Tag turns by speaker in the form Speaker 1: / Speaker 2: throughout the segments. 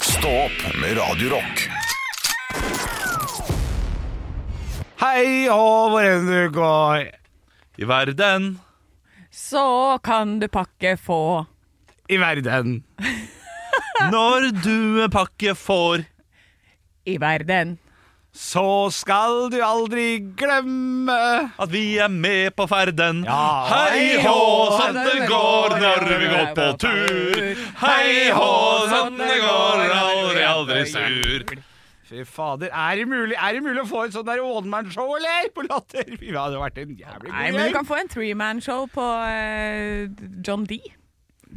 Speaker 1: Stå opp med Radio Rock.
Speaker 2: Hei og hvor enn du går
Speaker 3: I verden
Speaker 4: Så kan du pakke få.
Speaker 2: i verden.
Speaker 3: Når du en pakke får
Speaker 4: I verden.
Speaker 2: Så skal du aldri glemme
Speaker 3: At vi er med på ferden
Speaker 2: Ja.
Speaker 3: Hei hå, sånn det går Når vi går på tur Hei hå, sånn det går Aldri, aldri sur
Speaker 2: Fy fader, er det mulig, er det mulig å få et sånt der Onemann-show, eller? På latter? Fy, Det hadde vært en jævlig god
Speaker 4: Nei, men du
Speaker 2: gjeng.
Speaker 4: kan få en three-man-show på eh, John D.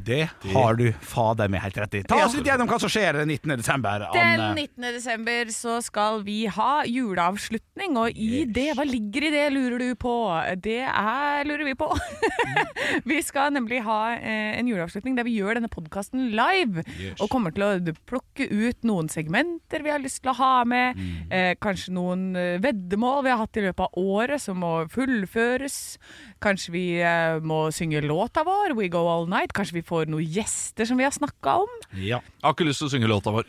Speaker 2: Det har du fader meg helt rett i. Ta
Speaker 4: Ja.
Speaker 2: oss litt gjennom hva som skjer den 19. desember.
Speaker 4: Den
Speaker 2: Anne.
Speaker 4: 19. desember så skal vi ha juleavslutning, og i det, hva ligger i det, lurer du på? Det er, lurer vi på. vi skal nemlig ha eh, en juleavslutning der vi gjør denne podkasten live, og kommer til å plukke ut noen segmenter vi har lyst til å ha med, eh, kanskje noen eh, veddemål vi har hatt i løpet av året som må fullføres, kanskje vi eh, må synge låta vår, We Go All Night, kanskje vi får noen gjester som vi har snakka om.
Speaker 2: Ja.
Speaker 3: Jeg har ikke lyst til å synge låta vår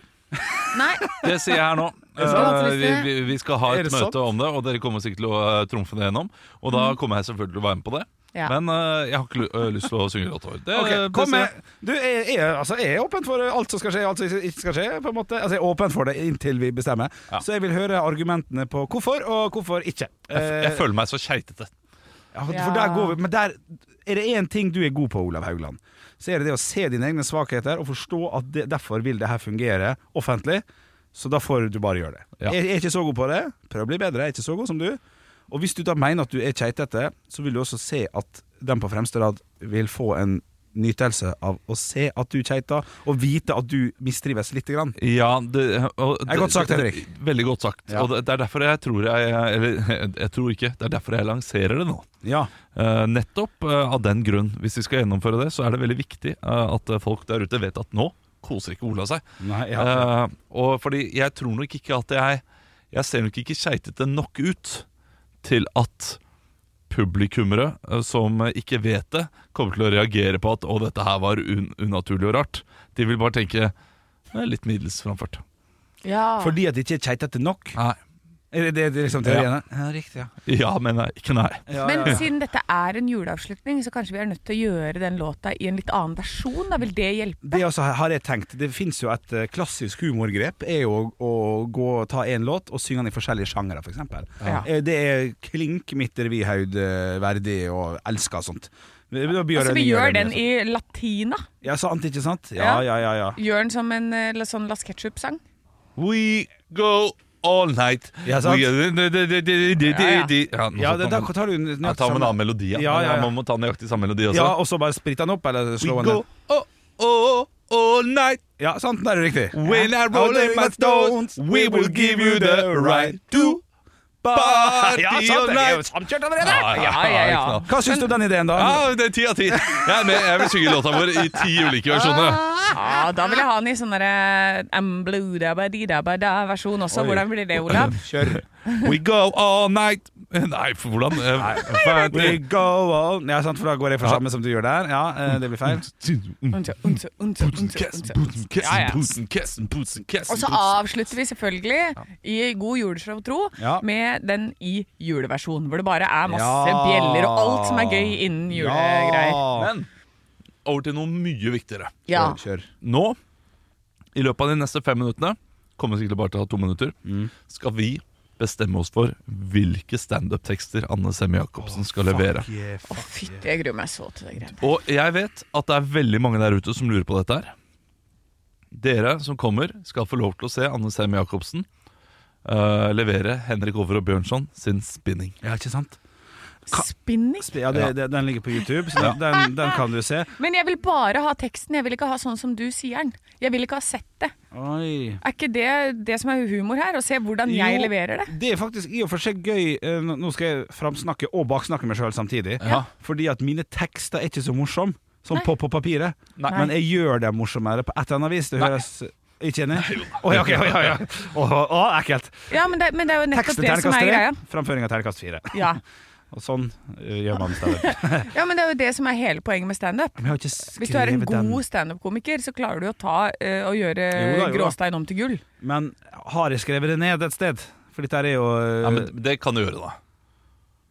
Speaker 4: Nei,
Speaker 3: Det sier jeg her nå Eh, vi, vi, vi skal ha
Speaker 2: Er
Speaker 3: et
Speaker 2: det sant?
Speaker 3: møte om det Og dere kommer sikkert til å eh, trumfe det gjennom Og da kommer jeg selvfølgelig til å være med på det
Speaker 4: Ja.
Speaker 3: Men eh, jeg har ikke lu- eh, lyst til å synge låta vår det,
Speaker 2: Ok,
Speaker 3: det
Speaker 2: kom
Speaker 3: sier jeg.
Speaker 2: med. Eh, Du er, er, altså, jeg er åpen for alt som skal skje, alt som ikke skal skje. på en måte Altså, Jeg er åpen for det inntil vi bestemmer.
Speaker 3: Ja.
Speaker 2: Så jeg vil høre argumentene på hvorfor og hvorfor ikke.
Speaker 3: jeg, f- jeg
Speaker 2: Eh,
Speaker 3: føler meg så keitete
Speaker 2: Ja, for
Speaker 4: Ja.
Speaker 2: der går vi Men der er det én ting du er god på, Olav Haugland, så er det det å se dine egne svakheter og forstå at det, derfor vil det her fungere offentlig. Så da får du bare gjøre det.
Speaker 3: Ja.
Speaker 2: Jeg er ikke så god på det. Prøv å bli bedre. Jeg er ikke så god som du. Og hvis du da mener at du er keitete, så vil du også se at den på fremste rad vil få en nytelse av å se at du keiter, og vite at du mistrives lite grann.
Speaker 3: Ja, det, og,
Speaker 2: Det er godt sagt, Henrik.
Speaker 3: Veldig godt sagt.
Speaker 2: Ja.
Speaker 3: Og det, det er derfor jeg tror jeg Eller jeg tror ikke, det er derfor jeg lanserer det nå.
Speaker 2: Ja.
Speaker 3: Eh, nettopp eh, av den grunn. Hvis vi skal gjennomføre det, så er det veldig viktig eh, at folk der ute vet at nå koser ikke Ola seg.
Speaker 2: Nei, ja.
Speaker 3: Eh, og fordi jeg tror nok ikke at jeg Jeg ser nok ikke keitete nok ut til at publikummere eh, som ikke vet det, kommer til å reagere på at 'Å, dette her var un unaturlig og rart'. De vil bare tenke «Det er litt middels framført.
Speaker 4: ja.
Speaker 2: Fordi at det ikke er keitete nok?
Speaker 3: Nei.
Speaker 2: Er det det det liksom teorien er? Ja, riktig, ja.
Speaker 3: Ja, men nei, ikke nei.
Speaker 2: Ja,
Speaker 4: Men
Speaker 2: ja, ja.
Speaker 4: siden dette er en juleavslutning, så kanskje vi er nødt til å gjøre den låta i en litt annen versjon? Da vil det hjelpe?
Speaker 2: Det altså, har jeg tenkt Det finnes jo et eh, klassisk humorgrep Er jo å, å gå, ta en låt og synge den i forskjellige sjangere for eksempel
Speaker 4: Ja.
Speaker 2: Eh, Det er klink mitt revihaud verdig og elsker og sånt Da blir
Speaker 4: Altså,
Speaker 2: det nye
Speaker 4: vi gjør
Speaker 2: revyr
Speaker 4: den
Speaker 2: og
Speaker 4: i latina.
Speaker 2: sånt. Ja, sant, ikke sant? Ja, ja, ja, ja
Speaker 4: Gjør den som en eh, la- sånn Las Ketchup-sang.
Speaker 3: We go all night.
Speaker 2: Ja, sant.
Speaker 3: We- Ja,
Speaker 4: ja.
Speaker 3: nå
Speaker 2: Ja,
Speaker 3: skal
Speaker 2: det, da
Speaker 3: man-
Speaker 2: tar du nøyaktig
Speaker 3: Ja, ta med en
Speaker 2: samme-
Speaker 3: annen melodi. Ja.
Speaker 2: Ja, ja, ja.
Speaker 3: Man må ta nøyaktig samme melodi også.
Speaker 2: Ja, og så bare spritte den opp Eller slå
Speaker 3: We
Speaker 2: den
Speaker 3: go
Speaker 2: ned
Speaker 3: oh, oh, all night
Speaker 2: Ja, sant, da er det riktig
Speaker 3: when I roll in my stones. We will give you the right to party
Speaker 2: Ja,
Speaker 3: all
Speaker 2: sant, det er jo
Speaker 3: night.
Speaker 2: samkjørt allerede
Speaker 3: Ah,
Speaker 4: ja, ja.
Speaker 3: knall.
Speaker 2: Hva synes du om den ideen da?
Speaker 3: Ja, det er ti av ti. Jeg, er med, jeg vil synge låta vår i ti ulike
Speaker 4: Ah.
Speaker 3: versjoner.
Speaker 4: Ja, da vil jeg ha den i sånn blue-da-ba-di-da-ba-da-versjon også.
Speaker 2: Oi.
Speaker 4: Hvordan blir det, Olav?
Speaker 2: Kjør
Speaker 3: We go all night Nei, for hvordan? Eh,
Speaker 2: We go on Ja, sant, for da går jeg for samme som du gjør der. Ja, eh, det blir feil.
Speaker 3: Mm.
Speaker 4: Unse, unse, unse, unse,
Speaker 3: Kassen,
Speaker 4: unse.
Speaker 3: pusen,
Speaker 4: Ja, ja.
Speaker 3: kassen, pusen, kassen, pusen, kassen,
Speaker 4: Og så
Speaker 3: pusen.
Speaker 4: avslutter vi selvfølgelig i god juleshow, tro,
Speaker 2: Ja.
Speaker 4: med den i juleversjon, hvor det bare er masse
Speaker 2: Ja.
Speaker 4: bjeller og alt som er gøy innen julegreier.
Speaker 2: Ja.
Speaker 3: Men over til noe mye viktigere.
Speaker 4: Ja.
Speaker 2: Kjør, kjør.
Speaker 3: Nå, i løpet av de neste fem minuttene, kommer sikkert bare til å ha to minutter,
Speaker 2: Mm.
Speaker 3: skal vi bestemme oss for hvilke standup-tekster Anne Semme Jacobsen skal levere.
Speaker 2: Fuck yeah, fuck.
Speaker 4: Fytti, jeg gruer meg så til det greiene.
Speaker 3: Og jeg vet at det er veldig mange der ute som lurer på dette her. Dere som kommer, skal få lov til å se Anne Semme Jacobsen eh, levere Henrik Over og Bjørnson sin spinning.
Speaker 2: Ja, ikke sant?
Speaker 4: Spinning?
Speaker 2: Sp- Ja, det, det, den ligger på YouTube, så den, den, den kan du se.
Speaker 4: Men jeg vil bare ha teksten, jeg vil ikke ha sånn som du sier den. Jeg vil ikke ha sett det.
Speaker 2: Oi.
Speaker 4: Er ikke det det som er humor her? Å se hvordan jeg
Speaker 2: Jo,
Speaker 4: leverer det?
Speaker 2: Det er faktisk i og for seg gøy eh, Nå nå skal jeg framsnakke og baksnakke meg sjøl samtidig.
Speaker 3: Ja.
Speaker 2: Fordi at mine tekster er ikke så morsomme, sånn på, på papiret.
Speaker 3: Nei.
Speaker 2: Men jeg gjør dem morsommere på et eller annet vis. Det
Speaker 3: Nei.
Speaker 2: høres Ikke enig? Oi, ok, oi, oi, oi. Å, å, ekkelt.
Speaker 4: Ja, men det, men det er jo nettopp
Speaker 2: Teksten
Speaker 4: det som
Speaker 2: terningkast
Speaker 4: er
Speaker 2: tre,
Speaker 4: greia.
Speaker 2: framføringa terningkast fire.
Speaker 4: Ja.
Speaker 2: Og sånn eh, gjør man standup.
Speaker 4: Ja, men det er jo det som er hele poenget med standup.
Speaker 2: Men jeg har ikke
Speaker 4: Hvis du er en
Speaker 2: skrevet den.
Speaker 4: god standup-komiker, så klarer du å ta eh, og gjøre
Speaker 2: Jo da, jo da.
Speaker 4: gråstein om til gull.
Speaker 2: Men har jeg skrevet det ned et sted? For dette her er jo eh,
Speaker 3: Ja, men det kan du gjøre, da.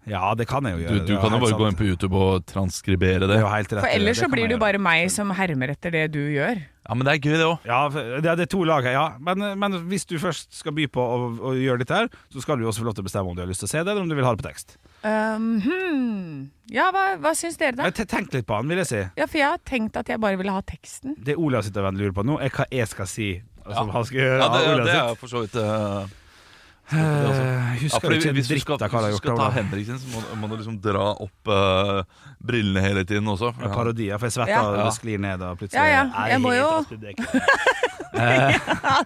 Speaker 2: Ja, det kan jeg jo
Speaker 3: Du,
Speaker 2: gjøre.
Speaker 3: du kan jo bare gå inn på YouTube og transkribere
Speaker 2: det. er
Speaker 3: det.
Speaker 2: jo helt rett,
Speaker 4: For ellers
Speaker 2: det
Speaker 4: så
Speaker 2: kan
Speaker 4: blir
Speaker 2: jeg
Speaker 4: det jo
Speaker 2: gjøre.
Speaker 4: bare meg som hermer etter det du gjør.
Speaker 3: Ja, Men det er gøy, det òg.
Speaker 2: Ja, for- det er det er to lag her, ja. Men, men hvis du først skal by på å, å gjøre dette her, så skal du jo også få lov til å bestemme om du har lyst til å se det, eller om du vil ha det på tekst.
Speaker 4: Um, hmm. Ja, hva, hva syns dere, da?
Speaker 2: Men te- Tenk litt på han, vil jeg si.
Speaker 4: Ja, for jeg har tenkt at jeg bare ville ha teksten.
Speaker 2: Det Olav sitt venn lurer på nå, er hva jeg skal si. Som
Speaker 3: Ja.
Speaker 2: han skal gjøre
Speaker 3: Ja, det,
Speaker 2: av
Speaker 3: ja,
Speaker 2: Olav
Speaker 3: det er jo
Speaker 2: sitt.
Speaker 3: for så vidt eh,
Speaker 2: Eh,
Speaker 3: ja,
Speaker 2: Husker
Speaker 3: fordi
Speaker 2: ikke en
Speaker 3: Hvis du
Speaker 2: dritt
Speaker 3: skal,
Speaker 2: av hva han har
Speaker 3: hvis du
Speaker 2: gjort.
Speaker 3: skal ta
Speaker 2: Olav.
Speaker 3: Henrik sin, så må, du- må du liksom dra opp eh, brillene hele tiden også.
Speaker 2: Ja, Parodier, for jeg svetter
Speaker 4: Ja.
Speaker 2: og
Speaker 3: Ja.
Speaker 2: det sklir ned. Og plutselig
Speaker 4: Ja, ja,
Speaker 2: Nei,
Speaker 4: jeg må
Speaker 2: helt
Speaker 4: jo-
Speaker 2: Asbjørn Brekke.
Speaker 4: Ja,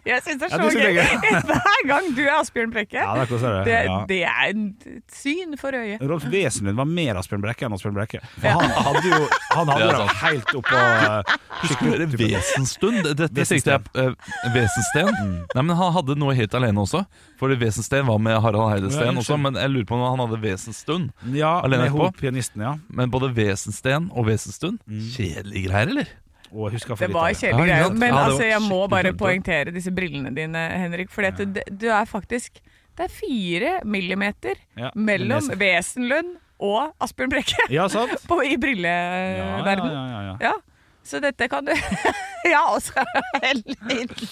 Speaker 4: jeg syns det
Speaker 2: Ja,
Speaker 4: er
Speaker 2: du
Speaker 4: så
Speaker 2: synes det er
Speaker 4: gøy! Hver gang du er Asbjørn Brekke.
Speaker 2: Ja, da koser jeg
Speaker 4: det,
Speaker 2: deg. Ja.
Speaker 4: det er et syn for øyet.
Speaker 2: Rolf Wesenlund var mer Asbjørn Brekke enn Asbjørn Brekke. For
Speaker 4: Ja.
Speaker 2: han hadde jo han hadde
Speaker 3: Det er
Speaker 2: det
Speaker 3: sant.
Speaker 2: helt eh, oppå
Speaker 3: Husker dere Vesenstund? Dette
Speaker 2: Vesensten.
Speaker 3: tenkte
Speaker 2: Mm.
Speaker 3: jeg på, eh, Vesensten? Nei, men Han hadde noe helt alene også. For Vesensten var med Harald
Speaker 2: Ja,
Speaker 3: Heidesteen
Speaker 2: unnskyld.
Speaker 3: også, men jeg lurer på om han hadde Vesenstund.
Speaker 2: Ja,
Speaker 3: Alene
Speaker 2: med hun
Speaker 3: etterpå.
Speaker 2: pianisten, ja.
Speaker 3: Men både Vesensten og Vesenstund
Speaker 2: Mm.
Speaker 3: Kjedelige greier, eller?
Speaker 2: Og jeg husker for
Speaker 4: Det
Speaker 2: litt
Speaker 4: var
Speaker 2: av
Speaker 3: Ja,
Speaker 4: kjedelige
Speaker 3: ikke
Speaker 4: greier.
Speaker 3: sant? Ja,
Speaker 4: Men
Speaker 3: det var
Speaker 4: altså, jeg må
Speaker 3: skikkelig
Speaker 4: bare
Speaker 3: tullete.
Speaker 4: poengtere disse brillene dine, Henrik. For du, du er faktisk Det er fire millimeter
Speaker 2: Ja,
Speaker 4: mellom
Speaker 2: det
Speaker 4: Wesenlund og Asbjørn Brekke
Speaker 2: Ja, sant?
Speaker 4: på,
Speaker 2: Ja,
Speaker 4: i Eh,
Speaker 2: ja,
Speaker 4: brilleverdenen.
Speaker 2: ja, ja, ja.
Speaker 4: Ja, så dette kan du Ja, altså. Helvete.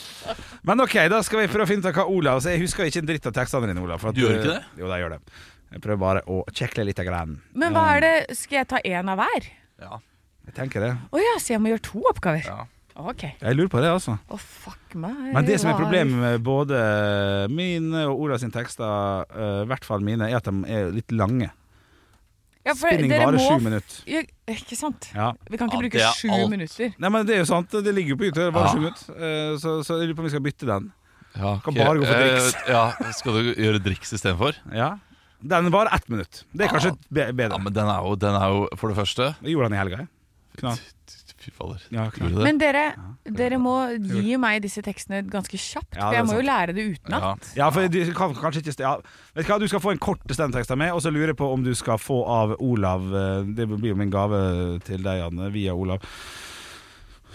Speaker 2: Men ok, da skal vi prøve å finne ut av hva Olav så Jeg husker ikke en dritt av tekstene dine, Olav. for at
Speaker 3: Du gjør ikke det?
Speaker 2: Jo, da, jeg gjør det. Jeg prøver bare å kjekle litt. av grann.
Speaker 4: Men hva er det Skal jeg ta én av hver?
Speaker 3: Ja.
Speaker 2: Jeg tenker det.
Speaker 4: Å ja, så jeg må gjøre to oppgaver?
Speaker 3: Ja.
Speaker 4: OK.
Speaker 2: Jeg lurer på det, altså.
Speaker 4: Å, fuck meg.
Speaker 2: Men det som er
Speaker 4: Hva
Speaker 2: problemet med både mine og Olavs tekster, eh, i hvert fall mine, er at de er litt lange.
Speaker 4: Ja, for
Speaker 2: Spinning
Speaker 4: dere
Speaker 2: varer
Speaker 4: må-
Speaker 2: sju minutter.
Speaker 4: Ja, ikke sant?
Speaker 2: Ja.
Speaker 4: Vi kan ikke
Speaker 3: Ja, det
Speaker 4: bruke
Speaker 3: er
Speaker 4: sju
Speaker 3: alt.
Speaker 4: minutter.
Speaker 2: Nei, men Det er jo sant, det ligger jo på YouTube. Det var
Speaker 3: Ja.
Speaker 4: Ah.
Speaker 2: sju minutter. Eh, Så, så jeg lurer på om vi skal bytte den.
Speaker 3: Ja,
Speaker 2: Kan
Speaker 3: ok.
Speaker 2: bare gå for driks.
Speaker 3: Eh, ja, skal du gjøre driks istedenfor?
Speaker 2: Ja. Den var ett minutt. Det er
Speaker 4: Ah.
Speaker 2: kanskje be-
Speaker 3: Ja,
Speaker 2: bedre.
Speaker 3: men den er, jo, den er jo For det første
Speaker 2: Det gjorde han i helga. jeg. Knall.
Speaker 3: Fy fader.
Speaker 2: Ja,
Speaker 3: Gjorde du det?
Speaker 4: Men dere, dere må gi meg disse tekstene ganske kjapt,
Speaker 2: Ja,
Speaker 4: for
Speaker 2: det er
Speaker 4: jeg må jo lære det utenat.
Speaker 2: Ja, for du kan kanskje ikke ja. Vet du hva, du skal få en kort stemmetekst av meg, og så lurer jeg på om du skal få av Olav eh, Det blir jo min gave til deg, Anne, via Olav.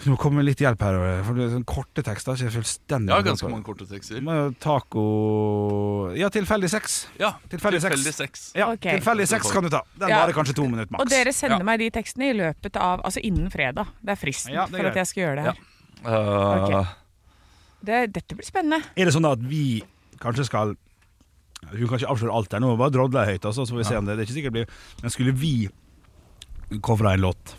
Speaker 2: Du må komme med litt hjelp her. For det er sånne korte tekster ikke fullstendig
Speaker 3: Ja, ganske mange korte tekster.
Speaker 2: Men Taco Ja, tilfeldig sex.
Speaker 3: Ja,
Speaker 2: Tilfeldig sex.
Speaker 3: sex.
Speaker 2: Ja,
Speaker 4: Ok.
Speaker 2: Tilfeldig sex kan du ta. Den
Speaker 4: Ja.
Speaker 2: varer kanskje to minutter maks.
Speaker 4: Og dere sender
Speaker 3: Ja.
Speaker 4: meg de tekstene i løpet av Altså innen fredag. Det er fristen
Speaker 2: Ja, det er
Speaker 4: for
Speaker 2: greit.
Speaker 4: at jeg skal gjøre det her.
Speaker 3: Eh,
Speaker 4: Ok. Det, dette blir spennende.
Speaker 2: Er det sånn at vi kanskje skal Hun kan ikke avsløre alt her nå, bare drodle høyt, altså, så får vi se om det Det er ikke sikkert det blir Men skulle vi covra en låt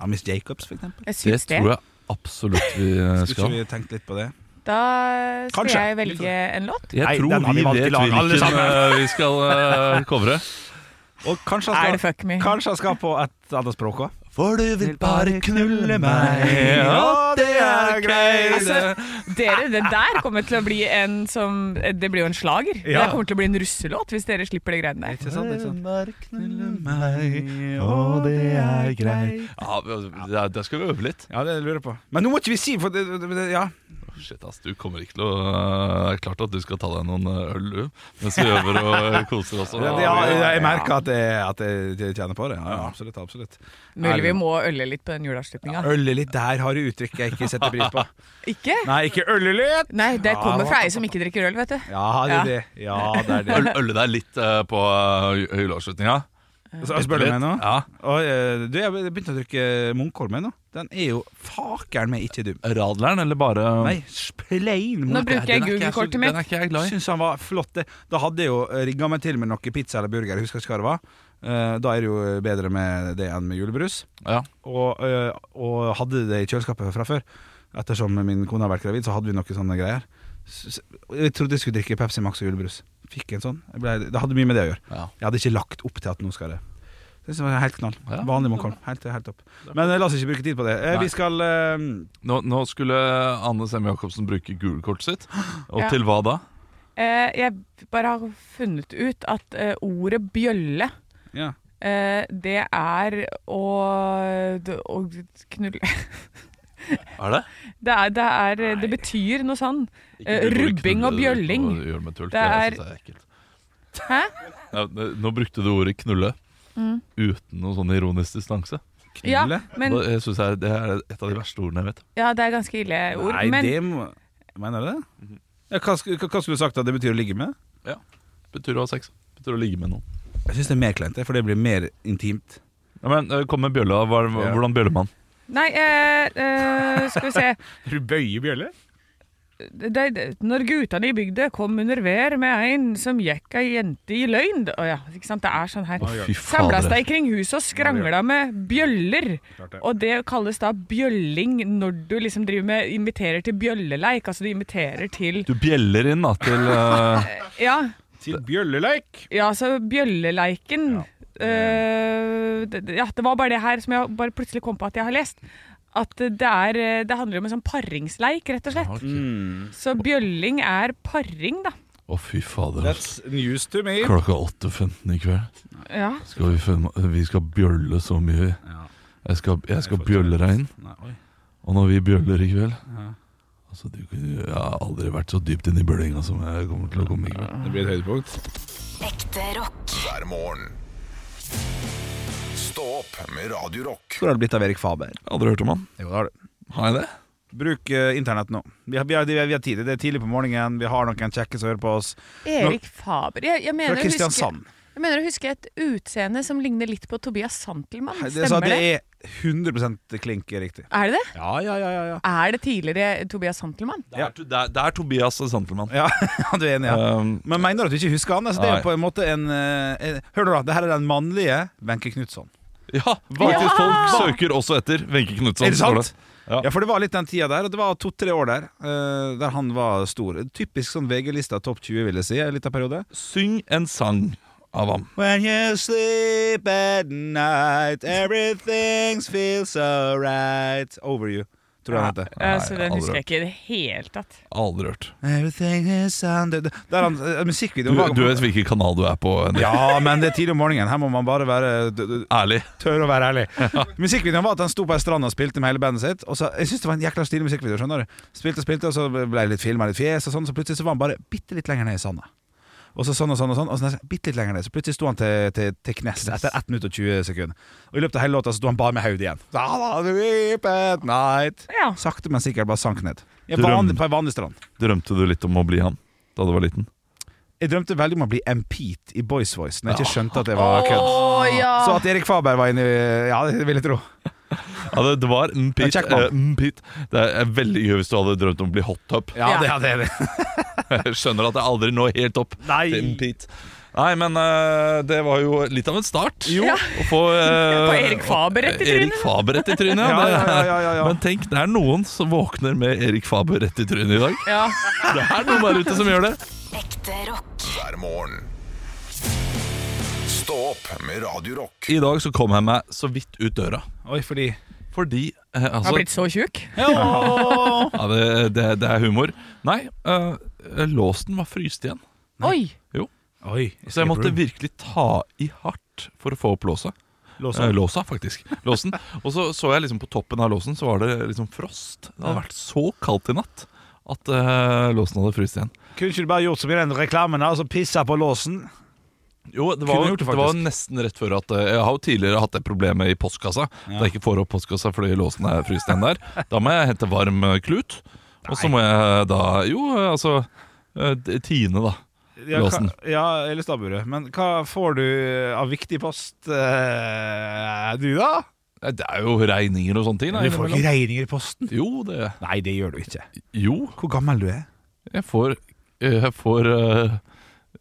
Speaker 2: av Miss Jacobs, for eksempel?
Speaker 4: Jeg
Speaker 3: Det
Speaker 4: syns det.
Speaker 3: tror jeg absolutt vi eh,
Speaker 2: Skulle
Speaker 3: skal.
Speaker 2: ikke vi tenkt litt på det?
Speaker 4: Da skal
Speaker 2: Kanskje.
Speaker 4: jeg velge en låt.
Speaker 3: Jeg
Speaker 2: Nei,
Speaker 3: tror
Speaker 2: den har
Speaker 3: vi
Speaker 2: vi valgt i
Speaker 3: vet
Speaker 2: lag, alle
Speaker 3: hvilken
Speaker 2: sammen.
Speaker 3: eh, vi skal uh, covre.
Speaker 2: Og kanskje
Speaker 4: Er
Speaker 2: han
Speaker 4: det
Speaker 2: skal,
Speaker 4: fuck me?
Speaker 2: kanskje han skal på et annet språk òg?
Speaker 3: For du vil bare knulle
Speaker 2: meg, og det er greit.
Speaker 3: Altså,
Speaker 4: Dere, det der kommer til å bli en som Det blir jo en slager.
Speaker 2: Ja.
Speaker 4: Det kommer til å bli en russelåt hvis dere slipper de greiene der.
Speaker 2: Ikke sant? Ikke sant?
Speaker 3: knulle meg, og det er greit. Ja, det, det skal vi øve litt.
Speaker 2: Ja, det lurer jeg på. Men nå må ikke vi si for det, det, det, Ja.
Speaker 3: Oh, Shit, ass, du kommer ikke til å eh, Det er klart at du skal ta deg noen eh, øl, du. Mens vi øver og eh, koser oss. og-
Speaker 2: Det- det- ja, jeg merker at jeg, at jeg kjenner på det. Ja, ja, absolutt. absolutt
Speaker 4: Mulig vi må øle litt på den juleavslutninga.
Speaker 2: Ølet litt der har du uttrykk jeg ikke setter pris på.
Speaker 4: Ikke?
Speaker 2: Nei, ikke ølet litt!
Speaker 4: Nei, det
Speaker 2: Ja,
Speaker 4: kommer
Speaker 2: hva-
Speaker 4: fra ei som ikke drikker øl, vet du.
Speaker 2: Ja, det er det. Ja, det er det.
Speaker 3: Øl, ølle deg litt eh, på eh, juleavslutninga.
Speaker 2: Så spør du meg nå?
Speaker 3: Ja.
Speaker 2: Oi, eh, du, jeg begynte å drikke Munkholm jeg nå. Den er jo fakeren meg ikke dum.
Speaker 3: Radleren, eller bare
Speaker 2: Nei, splein
Speaker 4: Nå
Speaker 2: Munkholm.
Speaker 4: bruker
Speaker 3: Den
Speaker 4: jeg
Speaker 3: er ikke så-
Speaker 4: Google-kortet
Speaker 3: Den
Speaker 4: mitt.
Speaker 3: er ikke jeg glad i.
Speaker 2: Syns han var flott. det. Da hadde jeg jo rigga meg til med noe pizza eller burger. Jeg husker ikke hva det var. Eh, Da er det jo bedre med det enn med julebrus.
Speaker 3: Ja.
Speaker 2: Og, eh, og hadde det i kjøleskapet fra før. Ettersom min kone har vært gravid, så hadde vi noen sånne greier. S- s- Jeg trodde jeg skulle drikke Pepsi Max og julebrus. Fikk en sånn. Jeg ble, det hadde mye med det å gjøre.
Speaker 3: Ja.
Speaker 2: Jeg hadde ikke lagt opp til at nå skal det Det synes jeg var helt knall.
Speaker 3: Ja.
Speaker 2: Vanlig Munkholm. Helt, helt topp. Men eh, la oss ikke bruke tid på det. Eh,
Speaker 3: Nei.
Speaker 2: Vi skal eh,
Speaker 3: Nå, nå skulle Anne Semme Jacobsen bruke gulkortet sitt. Og
Speaker 4: Ja.
Speaker 3: til hva da?
Speaker 4: Eh, jeg bare har funnet ut at eh, ordet bjølle,
Speaker 2: Ja.
Speaker 4: eh, det er å, det, å knulle
Speaker 3: Er det?
Speaker 4: det, er, det, er, det betyr noe sånn. Eh, rubbing og bjølling.
Speaker 3: Gjør med tull. Det
Speaker 4: Det er-
Speaker 3: synes jeg er ekkelt.
Speaker 4: Hæ?
Speaker 3: Ja, det- nå brukte du ordet knulle uten noen sånn ironisk distanse.
Speaker 4: Ja,
Speaker 2: Knulle?
Speaker 4: men,
Speaker 3: Og jeg synes jeg, det er et av de verste ordene jeg vet.
Speaker 4: ja, det er ganske ille ord.
Speaker 2: Nei,
Speaker 4: men
Speaker 2: det må Mhm. Mener du det? Ja, hva, sk- hva skulle du sagt da? Det betyr å ligge med?
Speaker 3: Betyr å ha sex. Betyr å ligge med noen.
Speaker 2: Jeg syns det er mer kleint, det, for det blir mer intimt.
Speaker 3: Ja, men eh, Kom med bjølla. Hva,
Speaker 2: Ja.
Speaker 3: Hvordan bjøller man?
Speaker 4: Nei, eh, eh, skal vi se.
Speaker 2: Du bøyer bjøller?
Speaker 4: De, de, når guttene i bygda kom under vær med en som gikk ei jente i løgn Å ja, ikke sant, det er sånn her.
Speaker 3: Å, fy
Speaker 4: Samles
Speaker 3: fader.
Speaker 4: de kring huset og skrangla med bjøller. Og det kalles da bjølling når du liksom driver med inviterer til bjølleleik. Altså du inviterer til
Speaker 3: Du bjeller inn da til eh,
Speaker 4: Ja,
Speaker 2: Til bjølleleik.
Speaker 4: ja altså bjølleleiken eh, det, det- ja, det var bare det her som jeg bare plutselig kom på at jeg har lest. At det, er, eh, det handler om en sånn paringsleik, rett og slett.
Speaker 3: Å,
Speaker 2: Mm.
Speaker 4: Så bjølling er paring, da.
Speaker 3: fy fader. ass.
Speaker 2: That's news to me.
Speaker 3: Klokka 8.15 i kveld
Speaker 4: Ja.
Speaker 3: skal vi, fem, vi skal bjølle så mye.
Speaker 2: Ja.
Speaker 3: Jeg skal, jeg skal bjølle deg inn.
Speaker 2: Nei, oi.
Speaker 3: Og når vi bjøller i kveld
Speaker 2: Ja.
Speaker 3: Altså, du, Jeg har aldri vært så dypt inne i bjøllinga som jeg kommer til å komme i kveld.
Speaker 2: Det blir et høydepunkt.
Speaker 5: Ekte rock.
Speaker 1: hver morgen. Stå opp med Radio Rock.
Speaker 2: Hvor har det blitt av Erik Faber?
Speaker 3: Aldri hørt om han.
Speaker 2: Jo, det har du.
Speaker 3: Har jeg det?
Speaker 2: Bruk eh, internett nå. Vi har, vi, har, vi, har, vi har tid. Det er tidlig på morgenen, vi har noen kjekke som hører på oss.
Speaker 4: Erik Faber. Jeg, jeg,
Speaker 2: Fra
Speaker 4: mener å huske,
Speaker 2: Kristiansand.
Speaker 4: jeg mener å huske et utseende som ligner litt på Tobias Santelmann.
Speaker 2: Det, så
Speaker 4: Stemmer
Speaker 2: det
Speaker 4: det?
Speaker 2: er 100 klink riktig.
Speaker 4: Er det det?
Speaker 2: Ja, ja, ja. ja, ja.
Speaker 4: Er det tidligere Tobias Santelmann?
Speaker 3: Det er, det er, det er Tobias Santelmann.
Speaker 2: Ja, du er enig, ja.
Speaker 3: Um,
Speaker 2: Men mener du at du ikke husker han? Altså, det er
Speaker 3: Nei.
Speaker 2: jo på en måte en, eh, en Hør nå, da. Det her er den mannlige Wenche Knutson.
Speaker 3: ja, faktisk folk søker også etter Wenche Knutson.
Speaker 2: Er Sånn det sant?
Speaker 3: Ja.
Speaker 2: Ja. for det var litt den tida der, og det var to-tre år der eh, der han var stor. Typisk sånn VG-lista topp 20, vil jeg si, en liten periode.
Speaker 3: Syng en sang av ham.
Speaker 2: When you sleep at night, everything feels so right. Over you, tror jeg han heter.
Speaker 4: Ja, så den
Speaker 3: aldri
Speaker 4: husker jeg ikke i det hele tatt.
Speaker 3: Aldri hørt.
Speaker 2: Everything is under the Der er han eh,
Speaker 3: Du,
Speaker 2: musikkvideoen var-
Speaker 3: du vet hvilken kanal du er på. Henrik.
Speaker 2: Ja, men det er tidlig om morgenen. Her må man bare være d- d-
Speaker 3: Ærlig.
Speaker 2: Tør å være ærlig. Musikkvideoen var at han sto på ei strand og spilte med hele bandet sitt. Og så, jeg synes det var en jækla stilig musikkvideo. skjønner du Spilte og spilte, og så ble det litt filma, litt fjes, og sånn. Så plutselig så var han bare bitte litt lenger ned i sanda. Og så sånn og sånn og sånn. Og så nesten bitte litt lenger ned Så plutselig sto han til, til, til knes etter 1 minutt og 20 sekunder. Og i løpet av hele låta så sto han bare med hodet igjen. Da, da, da, weep at night.
Speaker 4: Ja.
Speaker 2: Sakte, men sikkert bare sank ned. I en
Speaker 3: Drøm.
Speaker 2: vanlig- På ei vanlig strand.
Speaker 3: Drømte du litt om å bli han da du var liten?
Speaker 2: Jeg drømte veldig om å bli Empete i Boys Voice, når jeg ikke skjønte at det var
Speaker 4: Å
Speaker 2: kødd.
Speaker 4: ja!
Speaker 2: Så at Erik Faber var inne i- Ja, det vil jeg tro.
Speaker 3: Ja, det, det var mm, Pete.
Speaker 2: Jackman.
Speaker 3: eh, mm, Pete. Det er veldig gøy hvis du hadde drømt om å bli hot top.
Speaker 2: Ja,
Speaker 4: Ja.
Speaker 2: det, ja, det er det.
Speaker 3: Jeg skjønner at jeg aldri når helt opp.
Speaker 2: Nei.
Speaker 3: til Pete. Nei, men eh, det var jo litt av en start.
Speaker 4: Ja.
Speaker 3: Å få eh,
Speaker 4: På Erik Faber rett i
Speaker 3: Erik
Speaker 4: trynet.
Speaker 3: Faber rett i trynet. ja.
Speaker 2: Ja,
Speaker 3: Det-
Speaker 2: ja, ja, ja, ja.
Speaker 3: Men tenk, det er noen som våkner med Erik Faber rett i trynet i dag.
Speaker 4: Ja.
Speaker 3: Det er noen der ute som gjør det.
Speaker 5: Ekte rock.
Speaker 1: hver morgen. Stå opp med Radio Rock.
Speaker 3: I dag så kom jeg meg så vidt ut døra.
Speaker 2: Oi, fordi
Speaker 3: Fordi eh,
Speaker 4: Har
Speaker 3: altså,
Speaker 4: blitt så tjukk.
Speaker 3: ja, det, det, det er humor. Nei, eh, låsen var fryst igjen.
Speaker 4: Oi!
Speaker 2: Oi,
Speaker 3: Så jeg måtte virkelig ta i hardt for å få opp låsa. Eh, låsa, faktisk. Låsen. Og så så jeg liksom på toppen av låsen, så var det liksom frost. Det hadde vært så kaldt i natt at eh, låsen hadde fryst igjen.
Speaker 2: Kunne ikke du bare gjort som i den reklamen, altså pissa på låsen?
Speaker 3: Jo,
Speaker 2: Kunne
Speaker 3: det var,
Speaker 2: gjort det,
Speaker 3: det, var
Speaker 2: faktisk.
Speaker 3: nesten rett før at eh, Jeg har jo tidligere hatt det problemet i postkassa. At jeg ikke får opp postkassa fordi låsen er fryst igjen der. Da må jeg hente varm eh, klut. Og så må jeg da Jo, eh, altså eh, d- Tine, da.
Speaker 2: Ja,
Speaker 3: Låsen.
Speaker 2: hva- Ja, eller stabburet. Men hva får du av viktig post, eh, du, da?
Speaker 3: Eh, Det er jo regninger og sånne ting. da,
Speaker 2: Du får
Speaker 3: innimellom.
Speaker 2: ikke regninger i posten.
Speaker 3: Jo, det
Speaker 2: Nei, det gjør du ikke.
Speaker 3: Jo,
Speaker 2: Hvor gammel du er?
Speaker 3: jeg får Jeg får eh,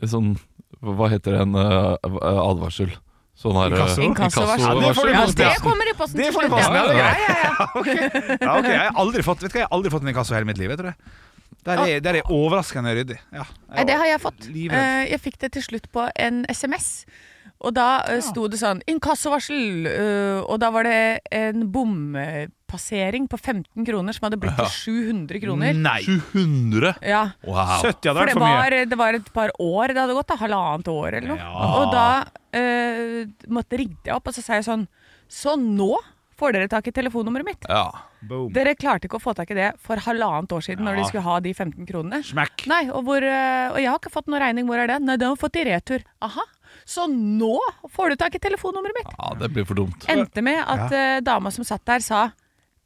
Speaker 3: sånn Hva heter det? En eh, advarsel. Sånn her eh,
Speaker 2: Inkasso?
Speaker 4: Inkassovarsel.
Speaker 2: Ja, det får du
Speaker 4: Ja,
Speaker 2: posten,
Speaker 4: det
Speaker 2: ja.
Speaker 4: kommer i posten
Speaker 2: Det
Speaker 4: til
Speaker 2: får du
Speaker 4: slutt.
Speaker 2: posten,
Speaker 4: ja.
Speaker 2: ja. det er
Speaker 3: Ja,
Speaker 2: greit. Ja, ok, jeg har aldri fått Vet du hva, jeg har aldri fått en inkasso i hele mitt liv, jeg tror jeg. Der er, der er jeg overraskende ryddig. Ja,
Speaker 4: Nei, det har jeg fått.
Speaker 2: Livredd.
Speaker 4: Eh, jeg fikk det til slutt på en SMS. Og da eh, sto det sånn 'inkassovarsel', eh, og da var det en bompassering på 15 kroner som hadde blitt til 700 kroner.
Speaker 2: Nei.
Speaker 3: 700!
Speaker 4: Ja,
Speaker 3: Wow.
Speaker 2: 70 hadde
Speaker 4: For
Speaker 2: vært
Speaker 4: det
Speaker 2: for mye.
Speaker 4: var, det var et par år det hadde gått, da, halvannet år eller noe.
Speaker 2: Ja.
Speaker 4: Og da eh, måtte ringte jeg opp, og så sa jeg sånn Så nå får dere tak i telefonnummeret mitt.
Speaker 3: Ja.
Speaker 2: Boom.
Speaker 4: Dere klarte ikke å få tak i det for halvannet år siden
Speaker 2: Ja.
Speaker 4: når de skulle ha de 15 kronene.
Speaker 2: Smekk.
Speaker 4: Nei, og, hvor, eh, og jeg har ikke fått noen regning. Hvor er den? Nei, den har jeg fått i retur. Aha. Så nå får du tak i telefonnummeret mitt.
Speaker 3: Ja, det blir for dumt.
Speaker 4: Endte med at eh, dama som satt der, sa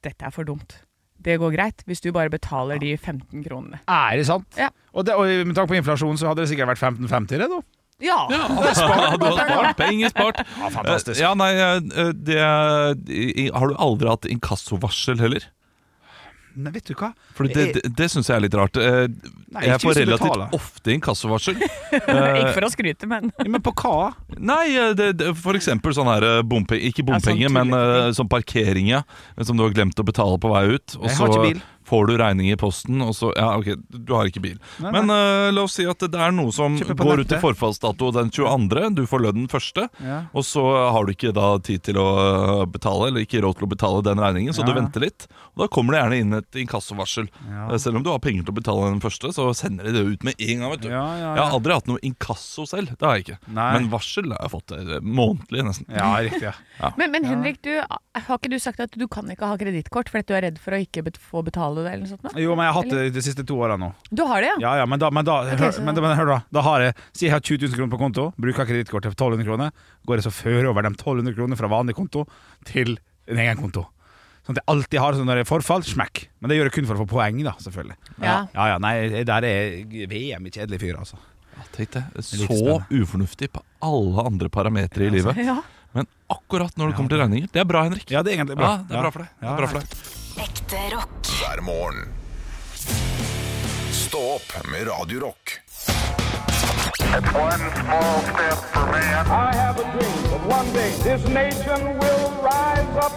Speaker 4: dette er for dumt. Det går greit hvis du bare betaler de 15 kronene.
Speaker 2: Er det sant?
Speaker 4: Ja.
Speaker 2: Og, det, og med tanke på inflasjon så hadde det sikkert vært 15,50 det, da.
Speaker 4: Ja!
Speaker 3: Ja, du har spart penger spart.
Speaker 2: Ja, fantastisk.
Speaker 3: Eh, Ja, nei, eh, det, i- i- har du aldri hatt inkassovarsel heller?
Speaker 2: Nei, vet du hva?
Speaker 3: For det, det, det syns jeg er litt rart. Eh,
Speaker 2: Nei, ikke
Speaker 3: Jeg
Speaker 2: hvis
Speaker 3: får
Speaker 2: du
Speaker 3: relativt
Speaker 2: betaler.
Speaker 3: ofte inkassovarsel. Eh,
Speaker 4: Ikke for å skryte, men
Speaker 2: Ja, Men på hva?
Speaker 3: Nei, eh, det, det, for eksempel sånn her eh, bompe, Ikke
Speaker 4: Ja, sånn
Speaker 3: bompenger, men eh, sånn parkering ja, Som du har glemt å betale på vei ut Og
Speaker 2: Jeg
Speaker 3: så
Speaker 2: har ikke bil.
Speaker 3: får du regning i posten Og så, ja ok, du har ikke bil
Speaker 2: Nei,
Speaker 3: Men eh, la oss si at det er noe som
Speaker 2: Kjøper på
Speaker 3: går ut
Speaker 2: nettet.
Speaker 3: til forfallsdato Den 22, du får lønn den første
Speaker 2: Ja.
Speaker 3: Og så har du ikke da tid til å eh, betale Eller ikke råd til å betale den regningen Så
Speaker 2: Ja.
Speaker 3: du venter litt Og da kommer det gjerne inn et inkassovarsel
Speaker 2: Ja.
Speaker 3: Eh, Selv om du har penger til å betale den første Så sender de det ut med en gang, vet du
Speaker 2: Ja, ja,
Speaker 3: Jeg har
Speaker 2: ja.
Speaker 3: aldri hatt noe inkasso selv, det har jeg ikke.
Speaker 2: Nei.
Speaker 3: Men varsel har jeg fått eh, månedlig, nesten.
Speaker 2: Ja, riktig. Ja.
Speaker 4: Men, men Henrik, du, har ikke du sagt at du kan ikke ha kredittkort fordi at du er redd for å ikke bet få betale det? eller noe sånt? nå?
Speaker 2: Jo, men jeg har hatt det de siste to åra nå.
Speaker 4: Du har det, ja?
Speaker 2: Ja, ja, men da, men da, hør,
Speaker 4: så-
Speaker 2: men, da- men hør da, da har jeg Si jeg har 20 000 kroner på konto, bruker kredittkortet for 1200 kroner, går jeg så fører over de 1200 kronene fra vanlig konto til en egen konto. Sånn at jeg alltid har sånn når det er forfall, smekk. Men det gjør jeg kun for å få poeng, da, selvfølgelig.
Speaker 4: Ja.
Speaker 2: ja, ja nei, jeg- der er jeg VM i kjedelig fyr, altså.
Speaker 3: Ja, Tenk det.
Speaker 2: er litt altså,
Speaker 3: Så ufornuftig på alle andre parametere i livet.
Speaker 4: Ja.
Speaker 3: Men akkurat når det kommer til regninger Det er bra, Henrik.
Speaker 2: Ja, det er egentlig
Speaker 3: Ja,
Speaker 2: bra.
Speaker 3: det er bra for deg. Det
Speaker 2: Ja.
Speaker 3: er bra for deg.
Speaker 5: Ekte rock.
Speaker 1: hver morgen. Stå opp med Radio Rock.
Speaker 6: One small step for man.
Speaker 7: I have a dream that one day this nation will rise up.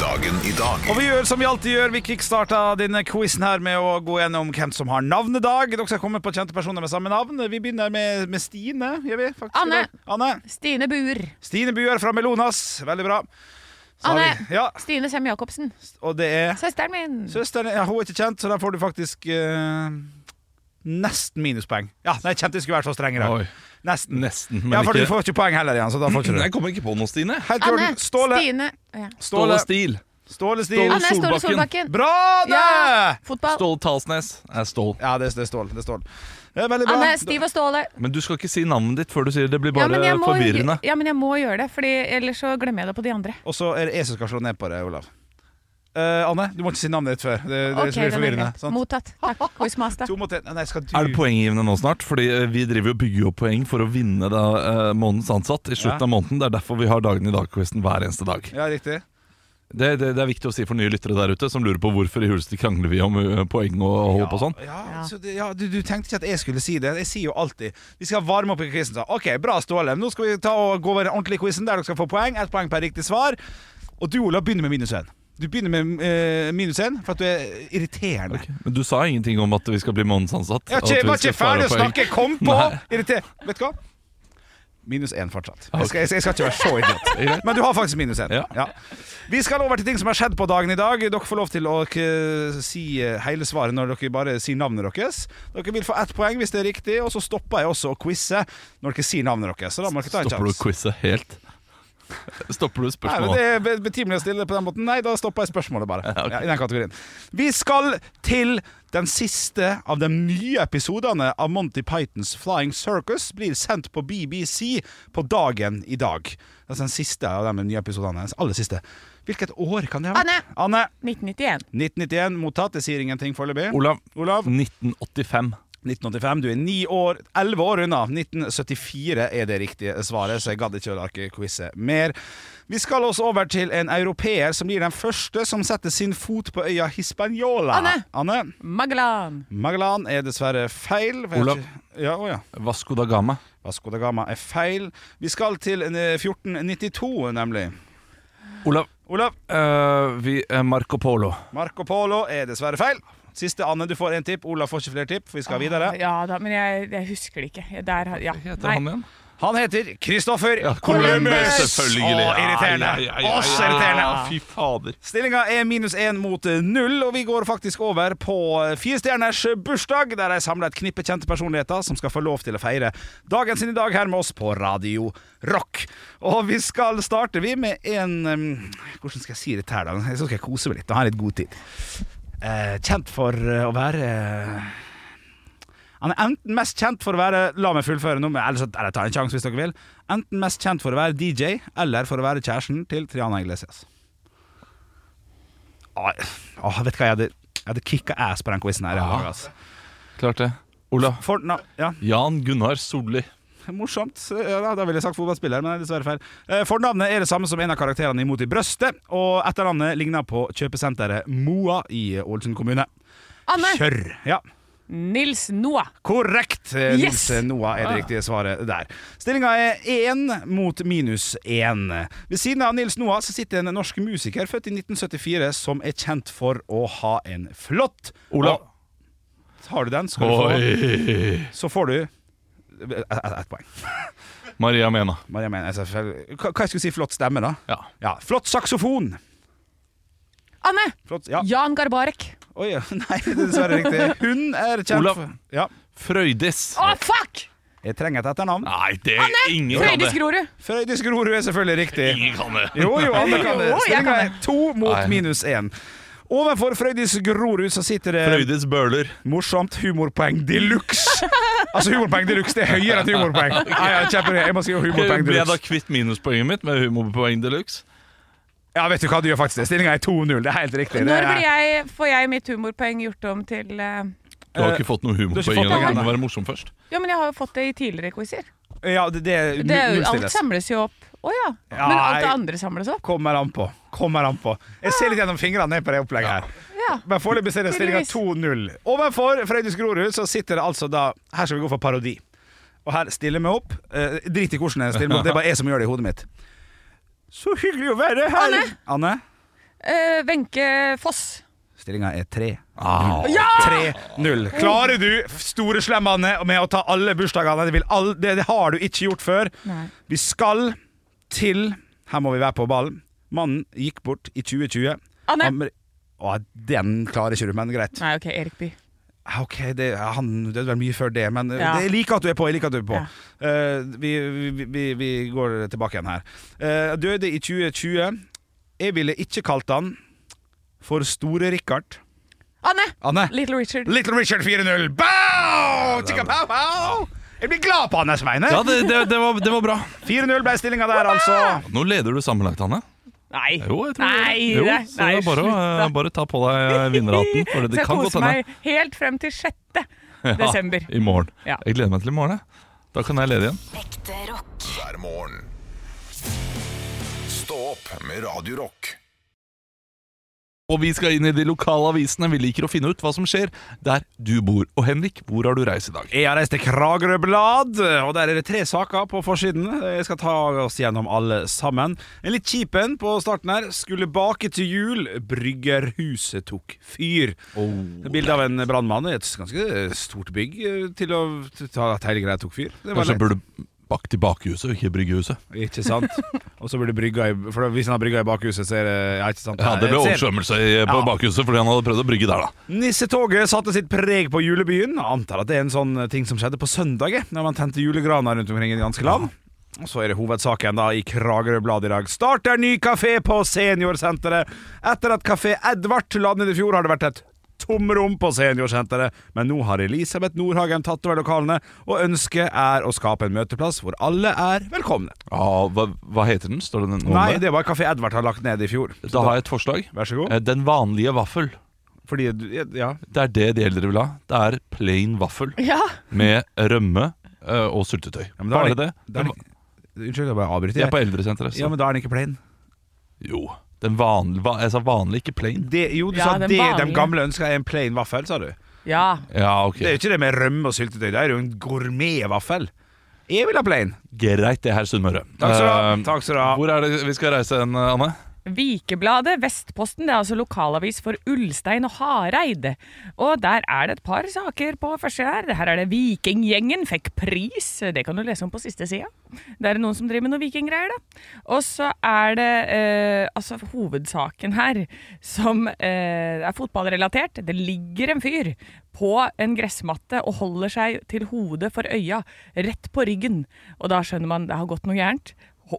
Speaker 1: Dagen i dag
Speaker 2: Og vi gjør som vi alltid gjør, vi kickstarter denne quizen her med å gå gjennom hvem som har navnedag. Dere skal komme på kjente personer med samme navn. Vi begynner med, med Stine. Gjør vi, faktisk,
Speaker 4: Anne.
Speaker 2: i dag. Anne.
Speaker 4: Stine Buer.
Speaker 2: Stine Buer fra Melonas. Veldig bra. Så har
Speaker 4: Anne.
Speaker 2: vi- Ja,
Speaker 4: Stine Sem Jacobsen.
Speaker 2: og det er
Speaker 4: Søsteren min.
Speaker 2: Søsteren ja, hun er ikke kjent, så der får du faktisk eh, nesten minuspoeng. Ja, nei, kjente skulle vært så streng i dag.
Speaker 3: Oi.
Speaker 2: Nesten.
Speaker 3: Nesten, men
Speaker 2: ja, for
Speaker 3: ikke-
Speaker 2: du får ikke poeng heller igjen, så da får ikke du
Speaker 3: Jeg kommer ikke på noe, Stine.
Speaker 2: Helt i
Speaker 4: Anne.
Speaker 2: orden. Ståle.
Speaker 4: Stine ja.
Speaker 3: Ståle
Speaker 2: Ståle.
Speaker 3: Stil.
Speaker 2: Ståle Stil.
Speaker 4: Anne Ståle
Speaker 3: Solbakken.
Speaker 4: Solbakken.
Speaker 2: Bra, det!
Speaker 4: Ja. Fotball.
Speaker 3: Ståle Talsnes er Stål.
Speaker 2: Ja, det, det er Stål. Det er Stål. Det er veldig bra.
Speaker 4: Anne Stiv og Ståle.
Speaker 3: Men du skal ikke si navnet ditt før du sier det. Det blir
Speaker 4: Ja
Speaker 3: bare
Speaker 4: men, jeg må,
Speaker 3: forvirrende.
Speaker 4: ja, men jeg må gjøre det, Fordi ellers så glemmer jeg det på de andre.
Speaker 2: Og så er det jeg som skal slå ned på det, Olav. Eh, Anne, du må ikke si navnet ditt før. Det, det
Speaker 4: Ok,
Speaker 2: blir
Speaker 4: den er
Speaker 2: forvirrende.
Speaker 4: greit.
Speaker 2: Sant?
Speaker 4: Mottatt. Takk, quizmaster.
Speaker 2: To mot én. Nei, skal du
Speaker 3: Er det poenggivende nå snart? Fordi eh, vi driver jo og bygger opp poeng for å vinne da, eh, månedens ansatt i slutten
Speaker 2: Ja.
Speaker 3: av måneden. Det er derfor vi har Dagen i dag-quizen hver eneste dag.
Speaker 2: Ja, riktig.
Speaker 3: Det, det, det er viktig å si for nye lyttere der ute som lurer på hvorfor i huleste krangler vi om uh, poeng og holder på sånn.
Speaker 2: Ja,
Speaker 4: Ja.
Speaker 2: Så det, ja du, du tenkte ikke at jeg skulle si det. Jeg sier jo alltid Vi skal varme opp i quizen. sa. OK, bra, Ståle. Nå skal vi ta og gå over den ordentlige quizen der dere skal få poeng. Ett poeng per riktig svar. Og du, Olav, begynner med minus én. Du begynner med eh, minus én for at du er irriterende.
Speaker 3: Men du sa ingenting om at vi skal bli månedens ansatt.
Speaker 2: Jeg var ikke,
Speaker 3: at vi
Speaker 2: jeg var
Speaker 3: skal
Speaker 2: ikke ferdig å
Speaker 3: spare poeng.
Speaker 2: snakke! Kom på!
Speaker 3: Nei.
Speaker 2: Irriter. Vet du hva? Minus én fortsatt. Jeg skal, jeg, skal- jeg skal ikke være så idiot. Men du har faktisk minus én.
Speaker 3: Ja.
Speaker 2: Ja. Vi skal over til ting som har skjedd på dagen i dag. Dere får lov til å k si eh, hele svaret når dere bare sier navnet deres. Dere vil få ett poeng hvis det er riktig, og så stopper jeg også å quize når dere sier navnet deres. Så da må dere ta en
Speaker 3: Stopper du
Speaker 2: sjanse.
Speaker 3: quizet helt? Stopper du
Speaker 2: Nei, men
Speaker 3: spørsmålet?
Speaker 2: det er be- betimelig å stille på den måten. Nei, da stopper jeg spørsmålet bare.
Speaker 3: ok.
Speaker 2: ja, I den kategorien. Vi skal til den siste av de nye episodene av Monty Pythons Flying Circus blir sendt på BBC på dagen i dag. Altså den siste av de nye episodene. den Aller siste. Hvilket år kan det ha vært? Anne.
Speaker 4: 1991.
Speaker 2: 1991 mottatt. Det sier ingenting foreløpig.
Speaker 3: Olav,
Speaker 2: Olav.
Speaker 3: 1985.
Speaker 2: 1985. Du er ni år, elleve år unna. 1974 er det riktige svaret, så jeg gadd ikke å lage quize mer. Vi skal også over til en europeer som blir den første som setter sin fot på øya Hispaniola.
Speaker 4: Anne.
Speaker 2: Anne.
Speaker 4: Magellan.
Speaker 2: Magellan er dessverre feil. for jeg
Speaker 3: Olav.
Speaker 2: har ikke- Ja, å ja.
Speaker 3: Vasco da Gama.
Speaker 2: Vasco da Gama er feil. Vi skal til eh, 1492, nemlig.
Speaker 3: Olav,
Speaker 2: Olav.
Speaker 3: eh, vi, eh, Marco Polo.
Speaker 2: Marco Polo er dessverre feil. Siste Anne, du får én tipp. Olav får ikke flere tipp, for vi skal videre.
Speaker 4: Ja da, men jeg, jeg husker det ikke. Der, har- ja.
Speaker 3: Hva heter
Speaker 4: Nei.
Speaker 3: han igjen?
Speaker 2: Han heter Kristoffer
Speaker 3: Ja,
Speaker 2: Columbus.
Speaker 3: Selvfølgelig.
Speaker 2: Å, irriterende.
Speaker 3: Ja, ja, ja, ja,
Speaker 2: Åh, så
Speaker 3: ja,
Speaker 2: irriterende.
Speaker 3: ja, Fy fader.
Speaker 2: Stillinga er minus én mot null, og vi går faktisk over på Firestjerners bursdag, der de samler et knippe kjente personligheter som skal få lov til å feire dagen sin i dag her med oss på Radio Rock. Og vi skal starte, vi, med en um, Hvordan skal jeg si dette her, da? Jeg skal jeg kose meg litt og ha litt god tid. Eh, kjent for eh, å være eh, han er enten mest kjent for å være La meg fullføre nå, men ellers eller ta en sjanse hvis dere vil. Enten mest kjent for å være DJ, eller for å være kjæresten til Triana Iglesias. Åh, åh, vet du hva, jeg hadde, jeg hadde kicka ass på den quizen her.
Speaker 3: Ja.
Speaker 2: Ja. Altså.
Speaker 3: Klart det. Ola.
Speaker 2: For, na, ja,
Speaker 3: Jan Gunnar Solli.
Speaker 2: morsomt. Ja, da, da ville jeg sagt fotballspiller, men det er dessverre feil. Eh, Fornavnet er det samme som en av karakterene i Mot i brøstet, og etternavnet ligner på kjøpesenteret Moa i Ålesund kommune.
Speaker 4: Anne
Speaker 2: Kjør! Ja.
Speaker 4: Nils Noah.
Speaker 2: Korrekt. eh, Nils
Speaker 4: Yes! Ah.
Speaker 2: Noah er det riktige svaret der. Stillinga er én mot minus én. Ved siden av Nils Noah så sitter en norsk musiker født i 1974 som er kjent for å ha en flott
Speaker 3: Ola.
Speaker 2: Har du den, skal du få.
Speaker 3: Oi.
Speaker 2: Så får du ett et poeng.
Speaker 3: Maria Mena.
Speaker 2: Maria mener jeg selvfølgelig Hva hva jeg skulle si? Flott stemme, da?
Speaker 3: Ja.
Speaker 2: Ja, Flott saksofon!
Speaker 4: Anne!
Speaker 2: Flott, ja.
Speaker 4: Jan Garbarek.
Speaker 2: Oi, ja. nei, det er dessverre riktig. Hun er kjent
Speaker 3: Olav.
Speaker 2: for Ja.
Speaker 3: Frøydis.
Speaker 4: Å, fuck!
Speaker 2: Jeg trenger et etternavn.
Speaker 3: Nei, det ingen kan
Speaker 4: Frøydis
Speaker 3: det.
Speaker 4: Grorud.
Speaker 2: Frøydis Grorud er selvfølgelig riktig.
Speaker 3: Ingen kan det.
Speaker 2: Jo, jo, alle kan det.
Speaker 4: Jo, jeg
Speaker 2: Stillinga
Speaker 4: kan
Speaker 2: er to mot
Speaker 3: Nei.
Speaker 2: minus én. Ovenfor Frøydis Grorud så sitter det
Speaker 3: Frøydis Bøhler.
Speaker 2: morsomt humorpoeng de luxe. Altså, humorpoeng de luxe det er høyere enn humorpoeng. Ja, ja, kjempebra. Jeg må si humorpoeng de
Speaker 3: Ble jeg da
Speaker 2: luxe.
Speaker 3: kvitt minuspoenget mitt med humorpoeng de luxe?
Speaker 2: Ja, vet du hva, du gjør faktisk det. Stillinga er 2-0. Det er helt riktig. Det
Speaker 4: Når
Speaker 2: er-
Speaker 4: blir jeg, får jeg mitt humorpoeng gjort om til eh,
Speaker 3: Du har
Speaker 2: Eh,
Speaker 3: ikke fått noe
Speaker 2: har ikke
Speaker 3: humorpoeng
Speaker 2: fått
Speaker 3: ennå.
Speaker 2: noe
Speaker 3: Du må være morsom først.
Speaker 4: Ja, men jeg har jo fått det i tidligere quizer.
Speaker 2: Ja, det, det,
Speaker 4: Det er jo- Alt
Speaker 2: nullstilles.
Speaker 4: samles jo opp. Å ja.
Speaker 2: Ja,
Speaker 4: Men alt det
Speaker 2: jeg-
Speaker 4: andre samles opp.
Speaker 2: Kommer an på. Kommer an på. Jeg ser litt gjennom fingrene ned på det opplegget her.
Speaker 4: Ja.
Speaker 2: Men foreløpig ser det stillinga 2-0.
Speaker 4: Tydeligvis.
Speaker 2: Ovenfor Frøydis Grorud så sitter det altså da Her skal vi gå for parodi. Og her stiller vi opp. Eh, drit i hvordan jeg stiller meg opp, det er bare jeg som gjør det i hodet mitt. Så hyggelig å være her! Anne. Anne.
Speaker 4: Eh, Wenche Foss.
Speaker 2: Stillinga er 3-0.
Speaker 3: Au.
Speaker 2: 3-0. Ah. Klarer du store slemmene med å ta alle bursdagene? Det, vil all, det, det har du ikke gjort før.
Speaker 4: Nei.
Speaker 2: Vi skal til Her må vi være på ballen. Mannen gikk bort i 2020.
Speaker 4: Anne.
Speaker 2: Ameri- Å, den klarer ikke du, men greit.
Speaker 4: Nei, OK, Erik Bye.
Speaker 2: Ok, det, han døde vel mye før det, men
Speaker 4: Ja.
Speaker 2: det, jeg liker at du er på. Jeg liker at du er på. Eh, vi, vi, vi, vi går tilbake igjen her. Eh, døde i 2020. Jeg ville ikke kalt han for Store-Richard.
Speaker 4: Anne!
Speaker 2: Anne.
Speaker 4: Little Richard.
Speaker 2: Little Richard 4-0. Bow! Chicka pow pow! Jeg blir glad på Anne Sveine.
Speaker 3: Ja, det, det, det, var, det var bra.
Speaker 2: 4-0 ble stillinga der, altså.
Speaker 3: Nå leder du sammenlagt, Hanne.
Speaker 4: Nei.
Speaker 3: Jo, jeg tror
Speaker 4: Nei,
Speaker 3: det. Jo,
Speaker 4: det-
Speaker 3: så
Speaker 4: nei,
Speaker 3: det er bare, å,
Speaker 4: slutt, da.
Speaker 3: eh, bare ta på deg vinnerhatten, for det
Speaker 4: Skal
Speaker 3: kan godt
Speaker 4: kose
Speaker 3: hende.
Speaker 4: meg helt frem til 6. desember.
Speaker 3: I morgen.
Speaker 4: Ja.
Speaker 3: Jeg gleder meg til i morgen. jeg. Da kan jeg lede igjen.
Speaker 5: Ekte rock.
Speaker 1: hver morgen. Stå opp med Radio Rock.
Speaker 3: Og vi skal inn i de lokale avisene. Vi liker å finne ut hva som skjer der du bor. Og Henrik, hvor har du reist i dag?
Speaker 2: Jeg har reist til Kragerø Blad, og der er det tre saker på forsiden. Jeg skal ta oss gjennom alle sammen. En litt kjip en på starten her. Skulle bake til jul, bryggerhuset tok fyr.
Speaker 3: Oh.
Speaker 2: Det er Bilde av en brannmann i et ganske stort bygg eh, til å ta at hele greia tok fyr. Det var
Speaker 3: Kanskje
Speaker 2: lett.
Speaker 3: burde bakt i bakhuset, og ikke i bryggehuset.
Speaker 2: Ikke sant? Og så blir det brygga i For hvis han har brygga i bakhuset, så er det Ja, ikke sant?
Speaker 3: Ja, Det ble
Speaker 2: Jeg ser-
Speaker 3: oversvømmelse i- på
Speaker 2: Ja.
Speaker 3: bakhuset fordi han hadde prøvd å brygge der, da.
Speaker 2: Nissetoget satte sitt preg på julebyen. Jeg antar at det er en sånn ting som skjedde på søndag, eh, når man tente julegraner rundt omkring i det ganske land. Og så er det hovedsaken da i Kragerø Blad i dag. Starter ny kafé på seniorsenteret. Etter at Kafé Edvard la ned i fjor, har det vært et tomrom på seniorsenteret. Men nå har Elisabeth Nordhagen tatt over lokalene, og ønsket er å skape en møteplass hvor alle er velkomne.
Speaker 3: Ja, hva, hva heter den? Står det den noe om
Speaker 2: Nei,
Speaker 3: det?
Speaker 2: det var Kafé Edvard har lagt ned i fjor. Så
Speaker 3: Da har jeg et forslag.
Speaker 2: Vær så god.
Speaker 3: Eh, Den vanlige vaffel.
Speaker 2: Fordi du Ja.
Speaker 3: Det er det de eldre vil ha. Det er plain vaffel
Speaker 4: Ja.
Speaker 3: med rømme eh, og syltetøy.
Speaker 2: men da er
Speaker 3: Bare
Speaker 2: det-
Speaker 3: det.
Speaker 2: da er det-
Speaker 3: Den-
Speaker 2: Unnskyld, jeg bare avbryter.
Speaker 3: Jeg er på eldresenteret.
Speaker 2: ja,
Speaker 3: så-
Speaker 2: men da er den ikke plain.
Speaker 3: Jo. Den vanlige, va- jeg sa vanlig, ikke plain.
Speaker 2: Det, jo, du
Speaker 4: Ja,
Speaker 2: sa
Speaker 4: den
Speaker 2: det de
Speaker 4: vanlige.
Speaker 2: gamle ønsker er en plain vaffel, sa du.
Speaker 4: ja.
Speaker 3: Ja, ok.
Speaker 2: Det er jo ikke det med rømme og syltetøy, det er jo en gourmetvaffel. Jeg vil ha plain.
Speaker 3: Greit, det her, Sunnmøre.
Speaker 2: Takk skal du ha.
Speaker 3: Eh,
Speaker 2: Takk skal du ha.
Speaker 3: Hvor er det vi skal reise hen, Anne?
Speaker 4: Vikebladet, Vestposten, det er altså lokalavis for Ulstein og Hareid. Og der er det et par saker på første her. Her er det Vikinggjengen fikk pris. Det kan du lese om på siste sida. Det er noen som driver med noe vikinggreier, da. Og så er det eh, altså hovedsaken her, som eh, er fotballrelatert. Det ligger en fyr på en gressmatte og holder seg til hodet for øya, rett på ryggen. Og da skjønner man det har gått noe gærent.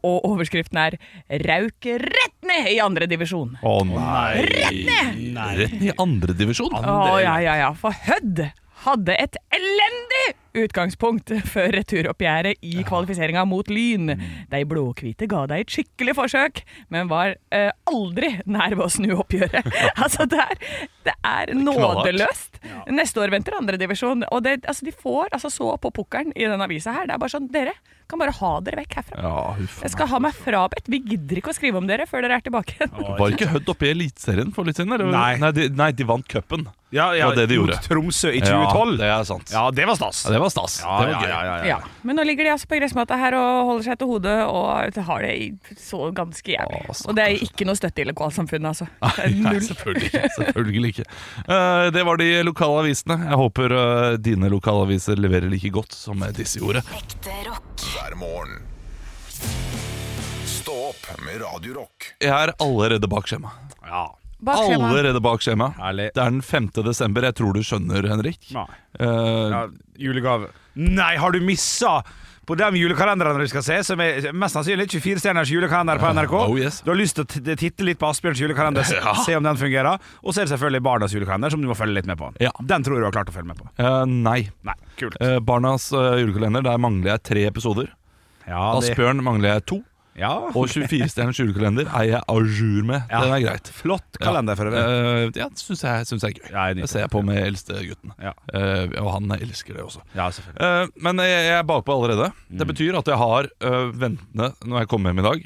Speaker 4: Og overskriften er 'Rauk rett ned i andredivisjon'.
Speaker 3: Å nei! Rett ned! Rett ned i andredivisjon!
Speaker 4: Å ja, ja, ja. For Hødd hadde et elendig utgangspunkt før returoppgjøret i kvalifiseringa mot Lyn. De blåhvite ga deg et skikkelig forsøk, men var eh, aldri nær ved å snu oppgjøret. altså, det er, det er nådeløst. Neste år venter andredivisjon. Og det, altså, de får altså, så på pukkelen i denne avisa her. Det er bare sånn Dere kan bare ha dere vekk herfra.
Speaker 3: Ja, huff.
Speaker 4: Jeg skal ha meg frabedt. Vi gidder ikke å skrive om dere før dere er tilbake igjen.
Speaker 3: Var ikke Hødd oppe i Eliteserien for litt siden? eller?
Speaker 2: Nei.
Speaker 3: Nei, de, nei, de vant cupen.
Speaker 2: Ja, ja,
Speaker 3: Det var det de
Speaker 2: mot
Speaker 3: gjorde.
Speaker 2: Tromsø i 2012.
Speaker 3: Ja, det er sant.
Speaker 2: Ja, det var stas.
Speaker 3: Ja, det var stas. det var gøy.
Speaker 4: Ja. Men nå ligger de altså på gressmatta her og holder seg til hodet og har det i- så ganske jævlig.
Speaker 3: Å, stakkars.
Speaker 4: og det er ikke noe støtte i lokalsamfunnet, altså. Det er
Speaker 3: Nei,
Speaker 4: Null.
Speaker 3: selvfølgelig ikke. Selvfølgelig ikke. Eh, det var de lokale avisene. Jeg håper eh, dine lokalaviser leverer like godt som disse gjorde.
Speaker 5: Ekte rock.
Speaker 1: hver morgen. Stå opp med Radio Rock.
Speaker 3: Jeg er allerede bak skjema.
Speaker 2: Ja.
Speaker 4: Bak skjema.
Speaker 3: Allerede bak skjema.
Speaker 2: Herlig.
Speaker 3: Det er den 5. desember. Jeg tror du skjønner, Henrik.
Speaker 2: Nei.
Speaker 3: Eh,
Speaker 2: Ja, julegave. Nei, har du missa? På de julekalenderne du skal se, som er mest sannsynlig 24 stjerners julekalender på NRK.
Speaker 3: Oh, yes.
Speaker 2: Du har lyst til å t- titte litt på Asbjørns julekalender, se-
Speaker 3: Ja.
Speaker 2: se om den fungerer. Og så er det selvfølgelig Barnas julekalender, som du må følge litt med på.
Speaker 3: Ja.
Speaker 2: Den tror jeg du har klart å følge med på.
Speaker 3: eh, nei.
Speaker 2: Nei, kult.
Speaker 3: Eh, barnas eh, julekalender, der mangler jeg tre episoder.
Speaker 2: Ja, det,
Speaker 3: Asbjørn mangler jeg to.
Speaker 2: ja.
Speaker 3: Og 24-stjerners julekalender er jeg à jour med.
Speaker 2: Ja.
Speaker 3: Den er greit.
Speaker 2: Flott kalender for øvrig.
Speaker 3: Eh, ja, det syns jeg, synes jeg er gøy.
Speaker 2: Ja, jeg nyter
Speaker 3: det ser jeg på med eldstegutten.
Speaker 2: Ja.
Speaker 3: Eh, og han elsker det også.
Speaker 2: Ja, selvfølgelig.
Speaker 3: Eh, men jeg, jeg er bakpå allerede. Det betyr at jeg har eh, ventende når jeg kommer hjem i dag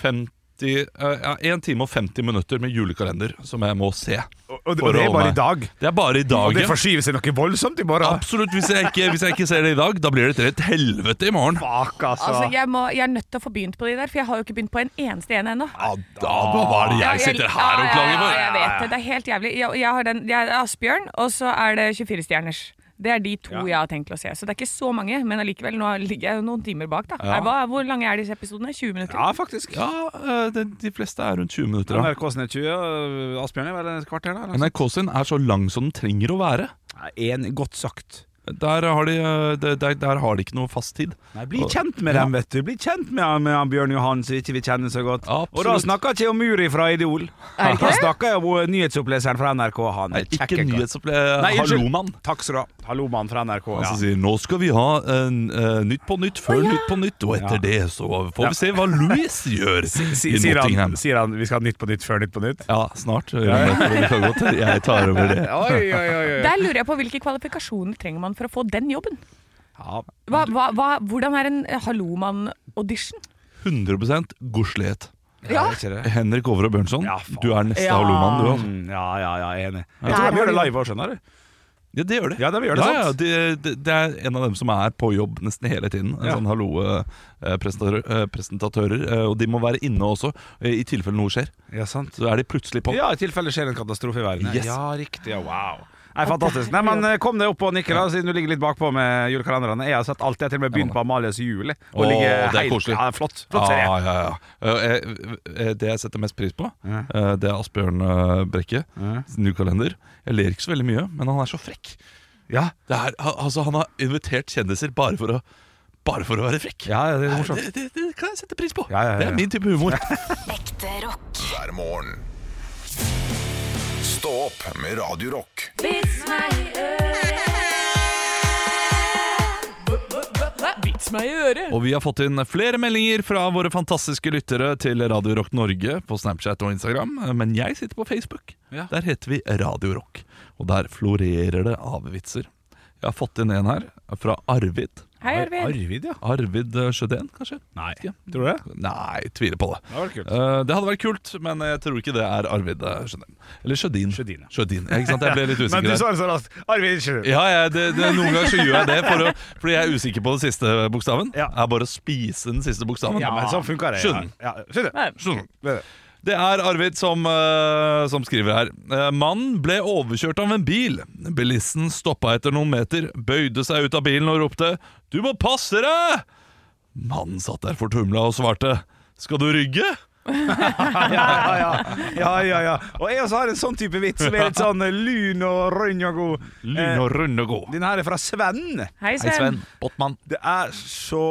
Speaker 3: 50 eh, ja, 1 time og 50 minutter med julekalender som jeg må se.
Speaker 2: Og, og,
Speaker 3: For
Speaker 2: og det
Speaker 3: å
Speaker 2: er bare i
Speaker 3: holde
Speaker 2: dag.
Speaker 3: Det er bare i dag.
Speaker 2: Og det
Speaker 3: ja.
Speaker 2: forskyver seg noe voldsomt i morgen.
Speaker 3: Absolutt. Hvis jeg, ikke, hvis jeg ikke ser det i dag, da blir det til et helvete i morgen.
Speaker 2: Fuck, altså.
Speaker 4: Altså, jeg, må, jeg er nødt til å få begynt på de der, for jeg har jo ikke begynt på en eneste en ennå.
Speaker 3: Ja, da, hva er det jeg sitter her og klager
Speaker 4: Ja, ja, ja, jeg
Speaker 3: for?
Speaker 4: vet det. Det er helt jævlig. Jeg, jeg har den, jeg er Asbjørn, og så er det 24-stjerners. Det er de to jeg har tenkt å se. Så det er ikke så mange, men allikevel, nå ligger jeg jo noen timer bak, da. Er, hva, hvor lange er disse episodene? 20 minutter?
Speaker 2: Ja, faktisk.
Speaker 3: Ja, eh, de, de fleste er rundt 20 minutter. Da.
Speaker 2: NRK sin er 20, og Asbjørn er vel et kvarter der? eller noe sånt?
Speaker 3: NRK sin er så lang som den trenger å være.
Speaker 2: Nei, en- godt sagt.
Speaker 3: Der har de, eh, der, der- der har de ikke noe fast tid.
Speaker 2: Nei, Bli kjent med dem, vet du. Bli kjent med, han- med han Bjørn Johan, som ikke vi kjenner så godt.
Speaker 3: Absolutt.
Speaker 2: Og da snakker jeg ikke om Muri fra Idol.
Speaker 4: Er det ikke
Speaker 2: Da
Speaker 4: det?
Speaker 2: snakker jeg om eh, nyhetsoppleseren fra NRK. Han
Speaker 3: Nei,
Speaker 2: er
Speaker 3: ikke
Speaker 2: kjekke kar. Nei,
Speaker 3: nyhetsopplevelse.
Speaker 2: unnskyld.
Speaker 3: Hallomann.
Speaker 2: Takk skal du ha. Hallomann fra NRK.
Speaker 3: Han
Speaker 2: Ja.
Speaker 3: som sier 'Nå skal vi ha en, eh, Nytt på nytt før Nytt på nytt', og etter
Speaker 2: Ja.
Speaker 3: det så får vi se hva Louis gjør
Speaker 2: Si-
Speaker 3: i
Speaker 2: sier, han,
Speaker 3: Nottingham.
Speaker 2: sier han vi skal ha Nytt på nytt før Nytt på nytt?
Speaker 3: Ja, snart. gjør han det, for det kan godt hende. Jeg tar over det.
Speaker 2: Oi, oi, oi. oi.
Speaker 4: Der lurer jeg på hvilke kvalifikasjoner trenger man for å få den jobben?
Speaker 2: Ja.
Speaker 4: Hva, hva, hva, hvordan er en eh, Halloman-audition?
Speaker 3: 100 godslighet.
Speaker 2: Ja, det er ikke det.
Speaker 3: Henrik Over og Bjørnson,
Speaker 2: Ja, faen.
Speaker 3: du er neste
Speaker 4: Ja.
Speaker 3: Hallomann, du. Altså.
Speaker 2: Mm, ja, ja, ja, jeg er enig. Jeg
Speaker 4: Der
Speaker 2: tror
Speaker 4: har
Speaker 2: de gjør det
Speaker 4: du-
Speaker 2: live òg, skjønner du.
Speaker 3: Ja, det gjør det.
Speaker 2: Ja, de gjør det,
Speaker 3: ja,
Speaker 2: sant?
Speaker 3: ja, det, det, det er en av dem som er på jobb nesten hele tiden. En
Speaker 2: Ja.
Speaker 3: sånn hallo-presentatører. eh, og de må være inne også, eh, i tilfelle noe skjer.
Speaker 2: Ja, sant.
Speaker 3: Så er de plutselig på.
Speaker 2: Ja, i tilfelle skjer en katastrofe i verden.
Speaker 3: Yes.
Speaker 2: Ja, riktig. Ja, wow. Nei, fantastisk. Nei, men eh, Kom deg opp og nikke, da, siden du ligger litt bakpå med julekalenderne. Jeg har sett alt. Jeg har til og med begynt på Amalies jul. jeg. Og
Speaker 3: Åh,
Speaker 2: ligger
Speaker 3: det er
Speaker 2: helt-
Speaker 3: koselig. Ah.
Speaker 2: Ja, flott. flott serie.
Speaker 3: Ja, ja, ja. Eh, eh, Det jeg setter mest pris på, eh, det er Asbjørn eh, Brekke. Sin nye kalender. Jeg ler ikke så veldig mye, men han er så frekk.
Speaker 2: Ja.
Speaker 3: Det er, al- altså, han har invitert kjendiser bare for å, bare for å være frekk. Eh,
Speaker 2: ja, ja, det er morsomt.
Speaker 3: det, det, det kan jeg sette pris på.
Speaker 2: Ja, ja, ja,
Speaker 3: Det
Speaker 2: ja.
Speaker 3: er min type humor.
Speaker 5: Ekte rock.
Speaker 1: hver morgen. Stå opp med Radio Rock.
Speaker 4: Vits meg i øret!
Speaker 3: Og vi har fått inn flere meldinger fra våre fantastiske lyttere til Radio Rock Norge på Snapchat og Instagram, men jeg sitter på Facebook.
Speaker 2: Ja.
Speaker 3: Der heter vi Radio Rock, og der florerer det av vitser. Jeg har fått inn en her fra Arvid.
Speaker 4: Hei, Arvid.
Speaker 2: Arvid, ja.
Speaker 3: Arvid eh, Sjødén, kanskje?
Speaker 2: Nei.
Speaker 3: Ikke.
Speaker 2: Tror du det?
Speaker 3: Nei, tviler på det.
Speaker 2: hadde vært kult.
Speaker 3: Eh, det hadde vært kult, men jeg tror ikke det er Arvid eh, Sjødén. Eller Sjødin.
Speaker 2: Sjødin, ja.
Speaker 3: ja, ikke sant? Jeg ble litt
Speaker 2: Men
Speaker 3: usikker
Speaker 2: du
Speaker 3: der.
Speaker 2: svarer så raskt. Arvid ikke du?
Speaker 3: Ja, ja det, det, noen ganger så gjør jeg det for å, fordi jeg er usikker på den siste bokstaven.
Speaker 2: Ja.
Speaker 3: Jeg er bare å spise den siste bokstaven.
Speaker 2: Ja, men sånn funker det. ja.
Speaker 3: Skjønner.
Speaker 2: Ja, skjønner.
Speaker 3: Skjønner.
Speaker 2: Det er det.
Speaker 3: Det er Arvid som, eh, som skriver her. Eh, Mannen ble overkjørt av en bil. Bilisten stoppa etter noen meter, bøyde seg ut av bilen og ropte 'Du må passe deg!' Mannen satt der fortumla og svarte 'Skal du rygge?'
Speaker 2: ja, ja, ja, ja, ja. Og jeg også har en sånn type vits som er litt sånn eh, lun og rund og god.
Speaker 3: Lyn og rund og god.
Speaker 2: Denne her er fra Sven.
Speaker 3: Hei,
Speaker 4: Hei,
Speaker 3: Sven
Speaker 4: Sven.
Speaker 3: Eh, Botman.
Speaker 2: Det er så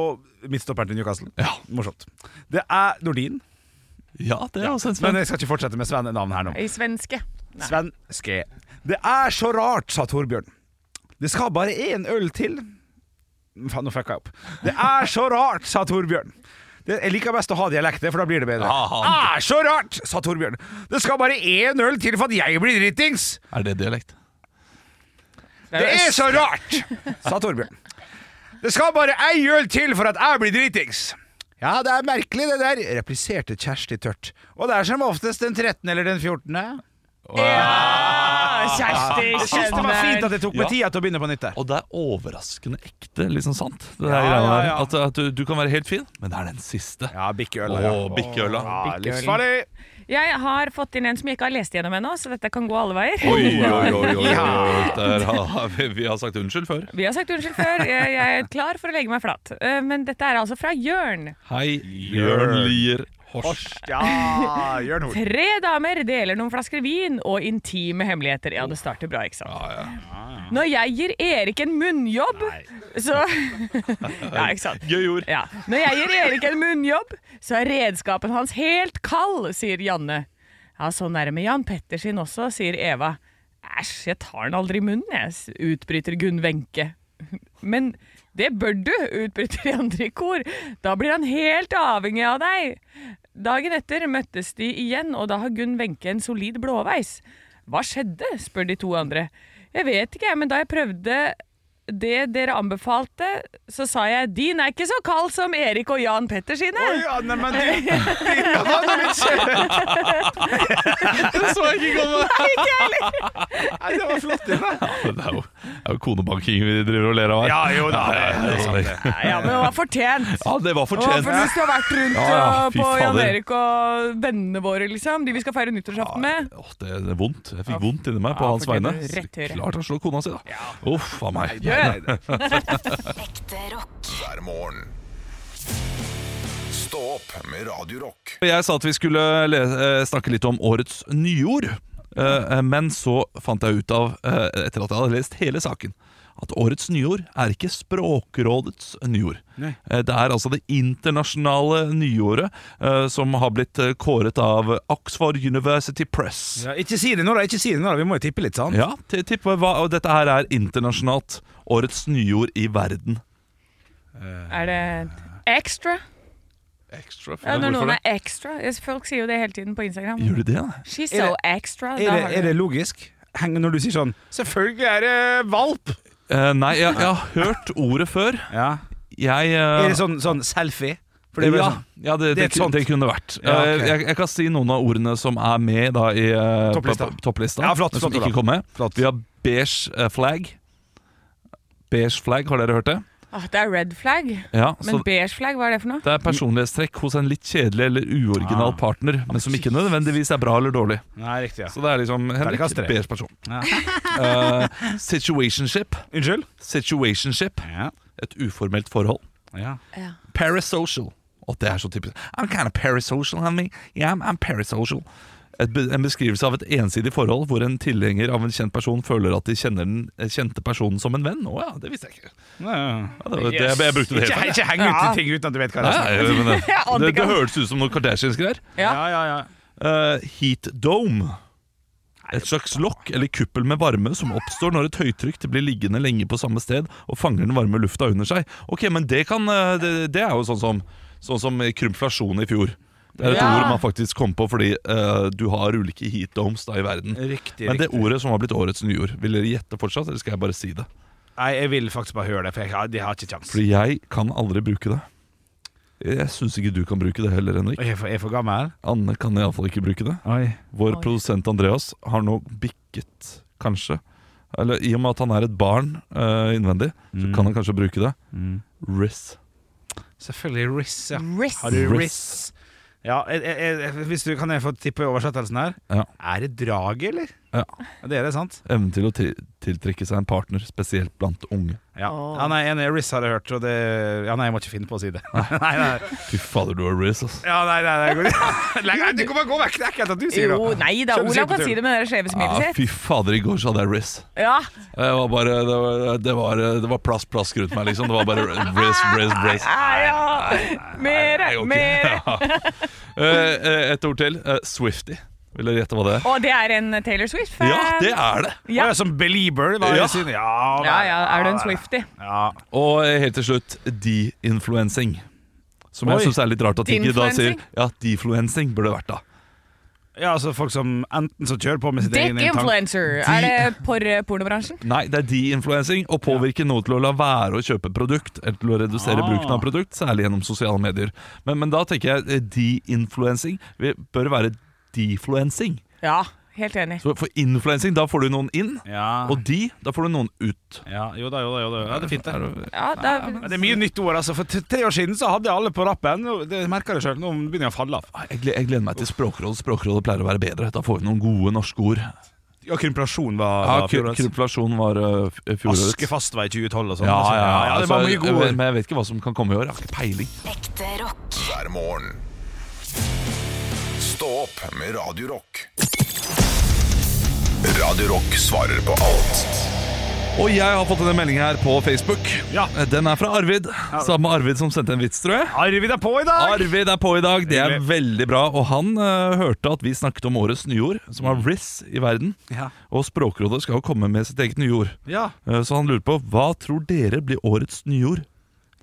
Speaker 2: Midtstopperen til Newcastle. Ja, Morsomt. Det er Nordin.
Speaker 3: Ja, det er også
Speaker 2: Men
Speaker 3: en Sven.
Speaker 2: jeg skal ikke fortsette med Sven-navnet her nå.
Speaker 4: I svenske. Nei.
Speaker 2: Sven Ske. Det er så rart, sa Torbjørn. Det skal bare én øl til. Faen, nå fucka jeg opp. Det er så rart, sa Torbjørn. Det, jeg liker best å ha dialekter, for da blir det bedre.
Speaker 3: Ja, han-
Speaker 2: Det er så rart, sa Torbjørn. Det skal bare én øl til for at jeg blir dritings.
Speaker 3: Er det dialekt?
Speaker 2: Det
Speaker 4: jo
Speaker 2: er
Speaker 4: øst-
Speaker 2: så rart, sa Torbjørn. Det skal bare ei øl til for at jeg blir dritings. Ja, det er merkelig det der, repliserte Kjersti tørt. Og det er som oftest den 13. eller den 14.
Speaker 4: Ja, Ah, Kjersti
Speaker 2: Jeg synes det var fint at jeg tok meg tida
Speaker 3: Ja.
Speaker 2: til å begynne på nytt der.
Speaker 3: Og det er overraskende ekte, liksom sant. Det der
Speaker 2: Ja,
Speaker 3: greiene
Speaker 2: ja,
Speaker 3: der.
Speaker 2: ja.
Speaker 3: At, at du, du kan være helt fin, men det er den siste.
Speaker 2: Ja, bikkeøl.
Speaker 3: Åh,
Speaker 2: ja.
Speaker 3: bikkeøla.
Speaker 2: Ja,
Speaker 4: Bikkeøl.
Speaker 2: livsfarlig!
Speaker 4: Jeg har fått inn en som jeg ikke har lest gjennom ennå, så dette kan gå alle veier.
Speaker 3: Oi, oi, oi, oi, oi. Der har vi, vi har sagt unnskyld før.
Speaker 4: Vi har sagt unnskyld før, jeg jeg er klar for å legge meg flat. Eh, Men dette er altså fra Jørn.
Speaker 3: Hei, Jørn Lier Hors.
Speaker 2: Ja, Jørn Hoel.
Speaker 4: Tre damer deler noen flasker vin og intime hemmeligheter. Ja, det starter bra, ikke sant? Når jeg gir Erik en munnjobb, så Ja, ikke sant?
Speaker 3: Gøy ord.
Speaker 4: Ja. Når jeg gir Erik en munnjobb, så er redskapen hans helt kald, sier Janne. Ja, sånn så nærme Jan Petter sin også, sier Eva. Æsj, jeg tar den aldri i munnen, jeg, s- utbryter Gunn Wenche. Men det bør du, utbryter de andre i kor. Da blir han helt avhengig av deg. Dagen etter møttes de igjen, og da har Gunn Wenche en solid blåveis. Hva skjedde, spør de to andre. Jeg vet ikke, jeg, men da jeg prøvde det dere anbefalte, så sa jeg din er ikke så kald som Erik og Jan Petter sine.
Speaker 2: Oi, ja, nei, men du, du kan ha det litt kjølig.
Speaker 3: Det så jeg ikke komme!
Speaker 2: Nei, Det var flott, det. da.
Speaker 3: Det er jo, det er jo konebanking vi driver og ler av her.
Speaker 2: Ja, jo da.
Speaker 3: Ja, ja, ja, det,
Speaker 4: Ja, ja, men det var fortjent.
Speaker 3: ja, det var
Speaker 4: Og for
Speaker 3: fortjent.
Speaker 4: hvis du har vært rundt
Speaker 3: Ja, ja,
Speaker 4: og
Speaker 3: fy
Speaker 4: på Jan
Speaker 3: fader.
Speaker 4: Erik og vennene våre, liksom. De vi skal feire nyttårsaften med.
Speaker 3: Åh, det, det er vondt. Jeg fikk vondt inni meg på
Speaker 4: Ja,
Speaker 3: hans
Speaker 4: fortjent.
Speaker 3: vegne.
Speaker 4: Rett i øret.
Speaker 3: Klart han slår kona si, da. Uff a meg.
Speaker 2: Nei, nei.
Speaker 5: ekte rock,
Speaker 1: hver morgen. Stå opp med Radio Rock.
Speaker 3: Jeg sa at vi skulle le eh, snakke litt om årets nyord, eh, eh, men så fant jeg ut av, eh, etter at jeg hadde lest hele saken, at årets nyord er ikke Språkrådets nyord.
Speaker 2: Nei.
Speaker 3: Eh, Det er altså det internasjonale nyordet eh, som har blitt eh, kåret av Oxford University Press.
Speaker 2: Ja, ikke si det nå, da. Ikke si det nå, da. Vi må jo tippe litt, sant?
Speaker 3: Ja, t- tipp hva, og dette her er internasjonalt. Årets nyord i verden.
Speaker 4: Er det extra?
Speaker 3: Ekstra
Speaker 4: Ja, når noen er extra. Yes, Folk sier jo det hele tiden på Instagram.
Speaker 3: Gjør du det? da?
Speaker 4: She's
Speaker 2: Er
Speaker 4: so
Speaker 2: det-
Speaker 4: extra.
Speaker 2: Er
Speaker 4: Da
Speaker 2: det,
Speaker 4: har
Speaker 2: er det
Speaker 4: du-
Speaker 2: logisk? Heng, når du sier sånn Selvfølgelig er det valp!
Speaker 3: Eh, nei, jeg, jeg har hørt ordet før.
Speaker 2: Ja.
Speaker 3: Jeg, eh,
Speaker 2: Er det sånn, sånn selfie? For det er vel
Speaker 3: ja,
Speaker 2: sånn
Speaker 3: ja det,
Speaker 2: er
Speaker 3: det,
Speaker 2: et
Speaker 3: ku-
Speaker 2: sånt.
Speaker 3: det kunne vært.
Speaker 2: Ja, ok.
Speaker 3: Eh, jeg, jeg kan si noen av ordene som er med da, i eh,
Speaker 2: Topplista.
Speaker 3: på- på- topplista
Speaker 2: Ja, flott,
Speaker 3: men som
Speaker 2: flott,
Speaker 3: ikke
Speaker 2: Olav.
Speaker 3: kom med.
Speaker 2: Flott.
Speaker 3: Vi har beige eh, flag. Beige flag, har dere hørt det?
Speaker 4: Åh, Ah, det er red flag.
Speaker 3: Ja, så
Speaker 4: Men beige flagg, hva er det for noe?
Speaker 3: det er personlighetstrekk hos en litt kjedelig eller
Speaker 2: Ah,
Speaker 3: uoriginal partner, men som ikke nødvendigvis er bra eller dårlig.
Speaker 2: Nei, riktig, ja.
Speaker 3: Så det er liksom Henrik,
Speaker 2: Terningkast tre.
Speaker 3: beige person.
Speaker 2: Ja.
Speaker 3: Eh, situationship.
Speaker 2: Unnskyld?
Speaker 3: Situationship.
Speaker 2: Ja.
Speaker 3: Et uformelt forhold.
Speaker 2: ja.
Speaker 3: Parasocial. Og det er så typisk. I'm kind of parasocial, honey. Yeah, I'm, I'm parasocial. Et, be- en beskrivelse av et ensidig forhold hvor en tilhenger av en kjent person føler at de kjenner den eh, kjente personen som en venn. Å ja, det visste jeg ikke.
Speaker 2: ja, ja.
Speaker 3: Ja, det, var- det, jeg, jeg brukte det helt
Speaker 2: Ikke,
Speaker 3: feil.
Speaker 2: ikke heng ut i ting uten at du vet hva det
Speaker 3: Nei,
Speaker 2: er.
Speaker 3: nei, men det,
Speaker 4: Jeg ante
Speaker 3: det, det
Speaker 4: ikke.
Speaker 3: høres ut som noe Kardashians-greier.
Speaker 4: Ja.
Speaker 2: Ja, ja, ja.
Speaker 3: Eh, heat dome. Et slags lokk eller kuppel med varme som oppstår når et høytrykk blir liggende lenge på samme sted og fanger den varme lufta under seg. Ok, men det, kan, eh, det, det er jo sånn som, sånn som krympflasjon i fjor. Det er et
Speaker 4: Ja.
Speaker 3: ord man faktisk kom på fordi eh, du har ulike heat domes da i verden.
Speaker 2: Riktig,
Speaker 3: men det
Speaker 2: riktig.
Speaker 3: ordet som har blitt årets nyord, vil dere gjette fortsatt, eller skal jeg bare si det?
Speaker 2: Nei, jeg vil faktisk bare høre det, for jeg har, jeg har ikke kjangs.
Speaker 3: Fordi jeg kan aldri bruke det. Jeg syns ikke du kan bruke det heller, Henrik.
Speaker 2: Jeg er for, jeg er for gammel?
Speaker 3: Anne kan iallfall ikke bruke det.
Speaker 2: Oi.
Speaker 3: Vår
Speaker 4: Oi.
Speaker 3: produsent Andreas har nå bikket, kanskje Eller i og med at han er et barn eh, innvendig, så kan han kanskje bruke det. Riss.
Speaker 2: Selvfølgelig Riss, ja.
Speaker 4: Riss.
Speaker 2: Har du
Speaker 3: Riss.
Speaker 2: Riss? Ja, jeg, jeg, jeg, hvis du, Kan jeg få tippe oversettelsen her?
Speaker 3: Ja.
Speaker 2: Er det draget, eller?
Speaker 3: Ja.
Speaker 2: Det er det, sant?
Speaker 3: Evnen til å til tiltrekke seg en partner, spesielt blant unge.
Speaker 2: Ja,
Speaker 4: Åh.
Speaker 2: ja nei, en Riz har jeg hørt, og det Ja, nei, jeg må ikke finne på å si det. nei, nei,
Speaker 3: Fy fader, du er Riz, ass.
Speaker 2: ja, nei, nei, nei, går- Nei, nei, det går bare gå vekk! Det er ekkelt at du sier det.
Speaker 4: Jo, nei da,
Speaker 2: Selv om du sier
Speaker 4: Olav kan
Speaker 2: på
Speaker 4: si
Speaker 2: tull.
Speaker 4: det med det skjeve
Speaker 3: Ja,
Speaker 4: smilet sitt.
Speaker 3: Ah, fy fader, i går så hadde jeg Riz.
Speaker 4: Ja,
Speaker 3: Jeg var bare, det, var, det, var, det var plask, plask rundt meg, liksom. Det var bare Riz, Riz, Riz.
Speaker 4: ja, ja.
Speaker 3: Nei,
Speaker 4: Mere,
Speaker 3: ok.
Speaker 4: mere.
Speaker 3: Ja. Eh, eh, Et ord til. Eh, Swifty. Vil dere gjette hva det er?
Speaker 4: Og det er en Taylor Swift-fan.
Speaker 3: Ja, det er det!
Speaker 2: Å,
Speaker 4: Ja.
Speaker 2: ja, som Belieber? Var det
Speaker 3: Ja.
Speaker 2: ja. Sin? Ja,
Speaker 4: Ja, ja, er du en
Speaker 2: ja,
Speaker 4: Swifty?
Speaker 2: Ja.
Speaker 3: Og eh, helt til slutt de-influencing. Som
Speaker 2: Oi.
Speaker 3: jeg syns er litt rart at de ikke da sier
Speaker 4: De-influencing?
Speaker 3: Ja, de-influencing burde det vært da.
Speaker 2: ja, altså folk som enten så kjører på med sitt
Speaker 4: Dick
Speaker 2: egen inntak
Speaker 4: influencer. Er det for eh, pornobransjen?
Speaker 3: Nei, det er de-influencing. Å påvirke noe til å la være å kjøpe produkt, eller til å redusere
Speaker 2: Ah.
Speaker 3: bruken av produkt, særlig gjennom sosiale medier. Men, men da tenker jeg eh, de-influencing vi bør være defluencing.
Speaker 4: Ja, helt enig.
Speaker 3: Så for influencing, da får du noen inn,
Speaker 2: Ja.
Speaker 3: og de, da får du noen ut.
Speaker 2: ja, jo da, jo da. Jo da. Ja, det er fint, det.
Speaker 4: Ja, da,
Speaker 2: Ja, Det er mye nytt ord, altså. For t- tre år siden så hadde jeg alle på rappen. og Det merker jeg sjøl. Nå begynner jeg å falle av.
Speaker 3: Nei, Jeg gleder, jeg gleder meg til Språkrådet. Språkrådet pleier å være bedre. Da får vi noen gode norske ord.
Speaker 2: Ja, Krymplasjon var,
Speaker 3: Ja,
Speaker 2: var
Speaker 3: kru-
Speaker 2: fjorårets.
Speaker 3: Kruplasjon var eh, f- fjorårets.
Speaker 2: Askefast var i 2012 og sånn.
Speaker 3: Ja, ja, ja,
Speaker 2: ja, det var
Speaker 3: altså,
Speaker 2: mye gode
Speaker 3: jeg-
Speaker 2: ord.
Speaker 3: Men jeg vet ikke hva som kan komme i år. Jeg har ikke peiling.
Speaker 5: Ekte rock.
Speaker 1: hver morgen. Stå opp med Radio Rock. Radio Rock svarer på alt
Speaker 3: Og jeg har fått en melding her på Facebook.
Speaker 2: Ja.
Speaker 3: Den er fra Arvid. Samme Arvid som sendte en vits, tror jeg.
Speaker 2: Arvid er på i dag!
Speaker 3: Arvid er på i dag, det er
Speaker 2: Hyggelig.
Speaker 3: veldig bra. Og han eh, hørte at vi snakket om årets nyord, som er RIS i verden.
Speaker 2: Ja.
Speaker 3: Og Språkrådet skal jo komme med sitt eget nyord.
Speaker 2: Ja.
Speaker 3: Eh, Så han lurer på hva tror dere blir årets nyord?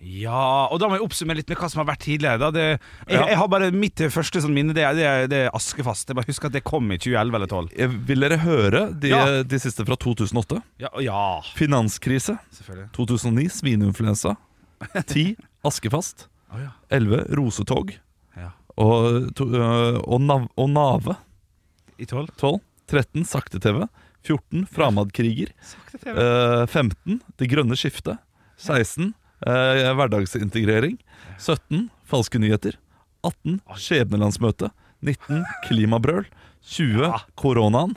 Speaker 2: ja, og da må jeg oppsummere litt med hva som har vært tidligere. Da. Det, jeg,
Speaker 3: Ja.
Speaker 2: jeg har bare Mitt første sånn minne det er, det, er, det er Askefast. Jeg bare husker at det kom i 2011 eller 2012.
Speaker 3: Eh, Vil dere høre de, eh,
Speaker 2: Ja.
Speaker 3: de siste fra 2008?
Speaker 2: Ja, ja
Speaker 3: Finanskrise.
Speaker 2: selvfølgelig.
Speaker 3: 2009 svineinfluensa. 10 askefast.
Speaker 2: Å, ja.
Speaker 3: 11 rosetog.
Speaker 2: Ja.
Speaker 3: Og, to, øh, og, nav, og nave.
Speaker 2: I 12?
Speaker 3: 12. 13 sakte-TV. 14 framadkriger. Eh, 15 det grønne skiftet. 16 eh, hverdagsintegrering. 17 falske nyheter. 18 skjebnelandsmøte. 19 klimabrøl. 20 koronaen.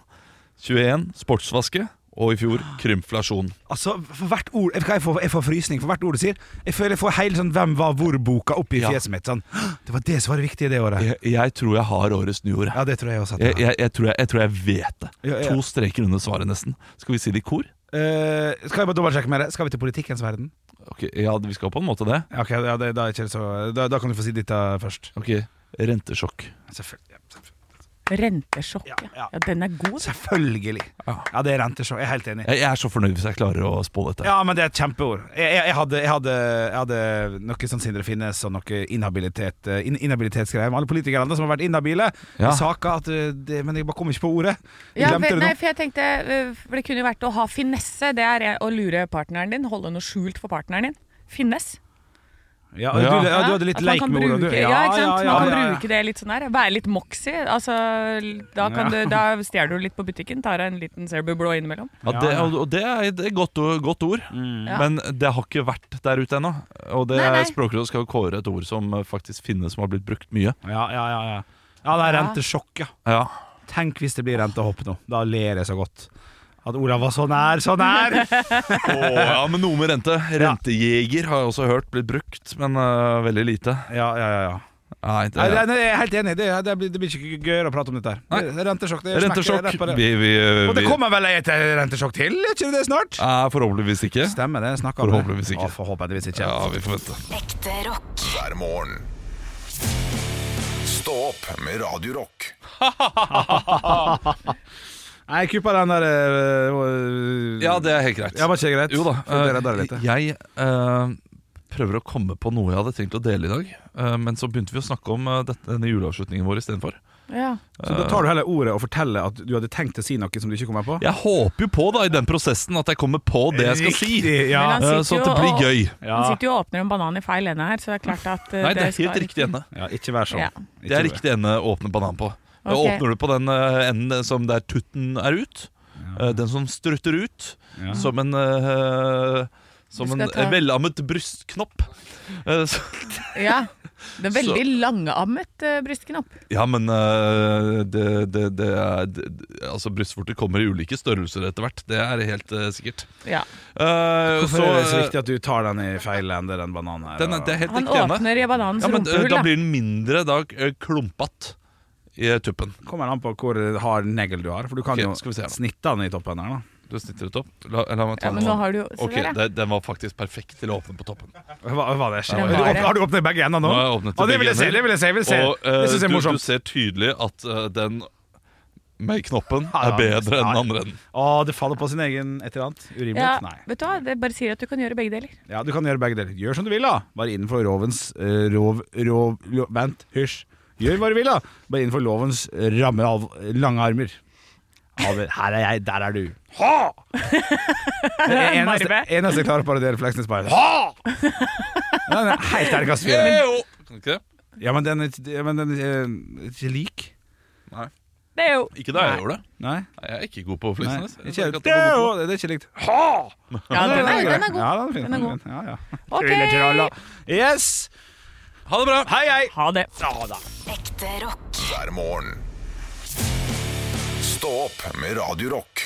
Speaker 3: 21 sportsvaske. Og i fjor krymflasjon.
Speaker 2: Altså, for hvert ord Jeg, jeg, får, jeg får frysning for hvert ord du sier. Jeg føler jeg får hele sånn Hvem var hvor-boka opp i
Speaker 3: Ja.
Speaker 2: fjeset mitt. Sånn, «Hå, det var det som var det viktige det året.
Speaker 3: Jeg, jeg tror jeg har årets nyord.
Speaker 2: Ja, det tror jeg også. At
Speaker 3: Jeg,
Speaker 2: det var.
Speaker 3: jeg, jeg, tror jeg, jeg tror jeg vet det.
Speaker 2: Ja, ja.
Speaker 3: To streker under svaret, nesten. Skal vi si det i kor?
Speaker 2: Eh, skal jeg bare dobbeltsjekke med deg? Skal vi til politikkens verden?
Speaker 3: Ok, ja, vi skal på en måte det.
Speaker 2: Ja, ok, ja, det, da, er ikke det så, da, da kan du få si ditt eh, først.
Speaker 3: Ok, Rentesjokk.
Speaker 2: Selvfølgelig. ja, selvfølgelig.
Speaker 4: Rentesjokk,
Speaker 2: Ja,
Speaker 4: ja.
Speaker 2: ja.
Speaker 4: ja. Den er god. den.
Speaker 2: Selvfølgelig. Ja, det er renteshow. Jeg er helt enig.
Speaker 3: Jeg, jeg er så fornøyd hvis jeg klarer å spå dette.
Speaker 2: Ja, men det er et kjempeord. Jeg, jeg, jeg, hadde, jeg, hadde, jeg hadde noe sånn Sindre Finnes og noe inhabilitet eh, in, inhabilitetsgreier med alle politikerne som har vært inhabile.
Speaker 3: Ja.
Speaker 2: i Saker at eh, det, Men jeg bare kom ikke på ordet. Jeg
Speaker 4: Ja,
Speaker 2: glemte
Speaker 4: for,
Speaker 2: det
Speaker 4: nei,
Speaker 2: nå.
Speaker 4: for jeg tenkte eh, For det kunne jo vært å ha finesse. Det er eh, å lure partneren din. Holde noe skjult for partneren din. Finnes.
Speaker 2: Ja, og Du, ja, du hadde litt
Speaker 4: At man
Speaker 2: leik
Speaker 4: kan
Speaker 2: med ordet.
Speaker 4: bruke-
Speaker 2: du.
Speaker 4: Ja, ikke sant. Man kan
Speaker 2: ja, ja.
Speaker 4: bruke det litt sånn her. Være litt moxy. Altså, da, kan
Speaker 2: Ja.
Speaker 4: du, da stjeler du litt på butikken. Tar deg en liten Cerebro Blå innimellom.
Speaker 3: Ja, det, og og det er et godt, ord- godt ord,
Speaker 2: Mm.
Speaker 4: Ja.
Speaker 3: men det har ikke vært der ute ennå. Og det
Speaker 4: Nei, nei.
Speaker 3: Språkrådet skal kåre et ord som faktisk finnes, som har blitt brukt mye.
Speaker 2: Ja, ja, ja, ja. ja, det er
Speaker 4: Ja.
Speaker 2: rentesjokk, ja.
Speaker 3: Ja,
Speaker 2: Tenk hvis det blir rentehopp nå. Da ler jeg så godt. At Olav var sånn så nær, så nær!
Speaker 3: Åh, ja men noe med rente. Rentejeger har jeg også hørt blitt brukt, men øh, veldig lite.
Speaker 2: Ja, ja, ja, ja.
Speaker 3: Nei, det,
Speaker 2: Nei, nei, nei, jeg er helt enig. Det, det, blir, det blir ikke gøyere å prate om dette. her Det- det er Rentesjokk. Det smekker
Speaker 3: Rentesjokk.
Speaker 2: rett på det.
Speaker 3: Vi, vi, øh,
Speaker 2: Og det
Speaker 3: vi
Speaker 2: kommer vel et eh, rentesjokk til, er ikke det snart?
Speaker 3: er forhåpentligvis ikke.
Speaker 2: Stemmer det. Snakker om
Speaker 3: Forhåpentligvis
Speaker 2: det.
Speaker 3: ikke.
Speaker 2: Å, forhåpentligvis ikke.
Speaker 3: Ja, vi får vente.
Speaker 5: Ekte rock.
Speaker 1: hver morgen. Stå opp med Radio Rock
Speaker 2: Nei, kupp av den der øh,
Speaker 3: Ja, det er helt greit.
Speaker 2: Ja, var ikke det greit?
Speaker 3: Jo da.
Speaker 2: For dere der litt.
Speaker 3: eh, jeg eh, prøver å komme på noe jeg hadde tenkt å dele i dag. eh, men så begynte vi å snakke om eh, dette, denne juleavslutningen vår istedenfor.
Speaker 4: Ja.
Speaker 2: Så da tar du heller ordet og forteller at du hadde tenkt å si noe som du ikke kommer på?
Speaker 3: Jeg håper jo på da i den prosessen at jeg kommer på det jeg skal si.
Speaker 2: Riktig, ja.
Speaker 4: Men han
Speaker 3: eh,
Speaker 4: sitter
Speaker 3: så at
Speaker 4: jo
Speaker 3: det blir
Speaker 4: og-
Speaker 3: gøy.
Speaker 2: ja.
Speaker 4: Han sitter jo og åpner en banan i feil ende her, så det er klart at eh,
Speaker 3: Nei, det er
Speaker 4: skal-
Speaker 3: helt riktig ende.
Speaker 2: ja, ikke vær sånn.
Speaker 4: Ja.
Speaker 2: Ikke
Speaker 3: Det er
Speaker 2: vær-
Speaker 3: riktig ende å åpne banan på. Da
Speaker 4: Ok.
Speaker 3: Åpner du på den eh, enden som der tutten er ut, eh, den som strutter ut,
Speaker 2: Ja.
Speaker 3: som en eh, som
Speaker 4: Du
Speaker 3: en
Speaker 4: skal ta-
Speaker 3: velammet brystknopp. Eh, så,
Speaker 4: Ja. Den veldig langammet eh, brystknapp.
Speaker 3: Ja, men eh, det, det, det er det, det- Altså, brystvorter kommer i ulike størrelser etter hvert. Det er helt eh, sikkert.
Speaker 4: Ja.
Speaker 3: Eh,
Speaker 2: Hvorfor er det så
Speaker 3: eh,
Speaker 2: viktig at du tar den i feil ende, den bananen her?
Speaker 3: Den er, det er helt
Speaker 4: Han
Speaker 3: riktig, Anne.
Speaker 4: åpner i bananens
Speaker 3: Ja, men eh,
Speaker 4: rumpehull.
Speaker 3: Da
Speaker 4: da.
Speaker 3: blir den mindre da, eh, klumpete i tuppen.
Speaker 2: og Kommer an på hvor hard negl du har, for du kan
Speaker 3: Ok, skal vi se her
Speaker 2: jo
Speaker 3: nå.
Speaker 2: snitte den i toppen her, da.
Speaker 3: Du snitter det opp. La, la meg ta
Speaker 4: Ja, men
Speaker 3: den
Speaker 4: nå
Speaker 3: nå.
Speaker 4: har du jo se
Speaker 3: Ok,
Speaker 4: der, ja.
Speaker 3: det, den var faktisk perfekt til å åpne på toppen.
Speaker 2: Hva, hva det skjer?
Speaker 4: Den
Speaker 2: Du
Speaker 4: har
Speaker 2: åpner-
Speaker 4: det.
Speaker 2: Har du åpnet begge endene nå?
Speaker 3: Nå har jeg åpnet til
Speaker 2: Å, det vil
Speaker 3: begge
Speaker 2: jeg se!
Speaker 3: ender.
Speaker 2: Det vil jeg se! vil jeg se.
Speaker 3: Og eh,
Speaker 2: det synes jeg er
Speaker 3: du, du
Speaker 2: morsomt.
Speaker 3: ser tydelig at eh, den med knoppen
Speaker 2: Ja,
Speaker 3: er
Speaker 2: ja.
Speaker 3: bedre enn
Speaker 2: Ja.
Speaker 3: den andre enden.
Speaker 2: Å, det faller på sin egen et eller annet. Urimelig?
Speaker 4: Ja,
Speaker 2: Nei.
Speaker 4: vet du hva, det bare sier at du kan gjøre begge deler.
Speaker 2: Ja, du kan gjøre begge deler. Gjør som du vil, da. Bare innenfor rovens eh, rov, rov, lo- Vent, hysj. Gjør hva du vil, da. Bare innenfor lovens eh, rammer av lange armer. Ja, det- Her er jeg, der er du. Ha! Det er eneste, eneste jeg klarer å parodiere Fleksnes bare Ha! Den er helt ærligast fyr.
Speaker 3: Ejo! Kan du ikke det?
Speaker 2: Ja, men den er ikke- ja, men den er ikke- ikke lik.
Speaker 4: Det er jo
Speaker 3: Ikke da jeg gjorde det.
Speaker 2: Nei.
Speaker 3: Nei, Jeg er ikke god på
Speaker 2: Nei,
Speaker 3: Flyksnes.
Speaker 2: ikke helt. Det er jo- det er ikke likt. Ha!
Speaker 4: Ja, den er, den
Speaker 2: Ja,
Speaker 4: er god.
Speaker 2: den er fin.
Speaker 4: Den er god.
Speaker 2: Ja, ja.
Speaker 4: Ok!
Speaker 2: Trylletralla. Yes!
Speaker 3: Ha det bra!
Speaker 2: Hei, hei!
Speaker 4: Ha det.
Speaker 5: Ekte rock.
Speaker 1: hver morgen. Stå opp med Radio Rock.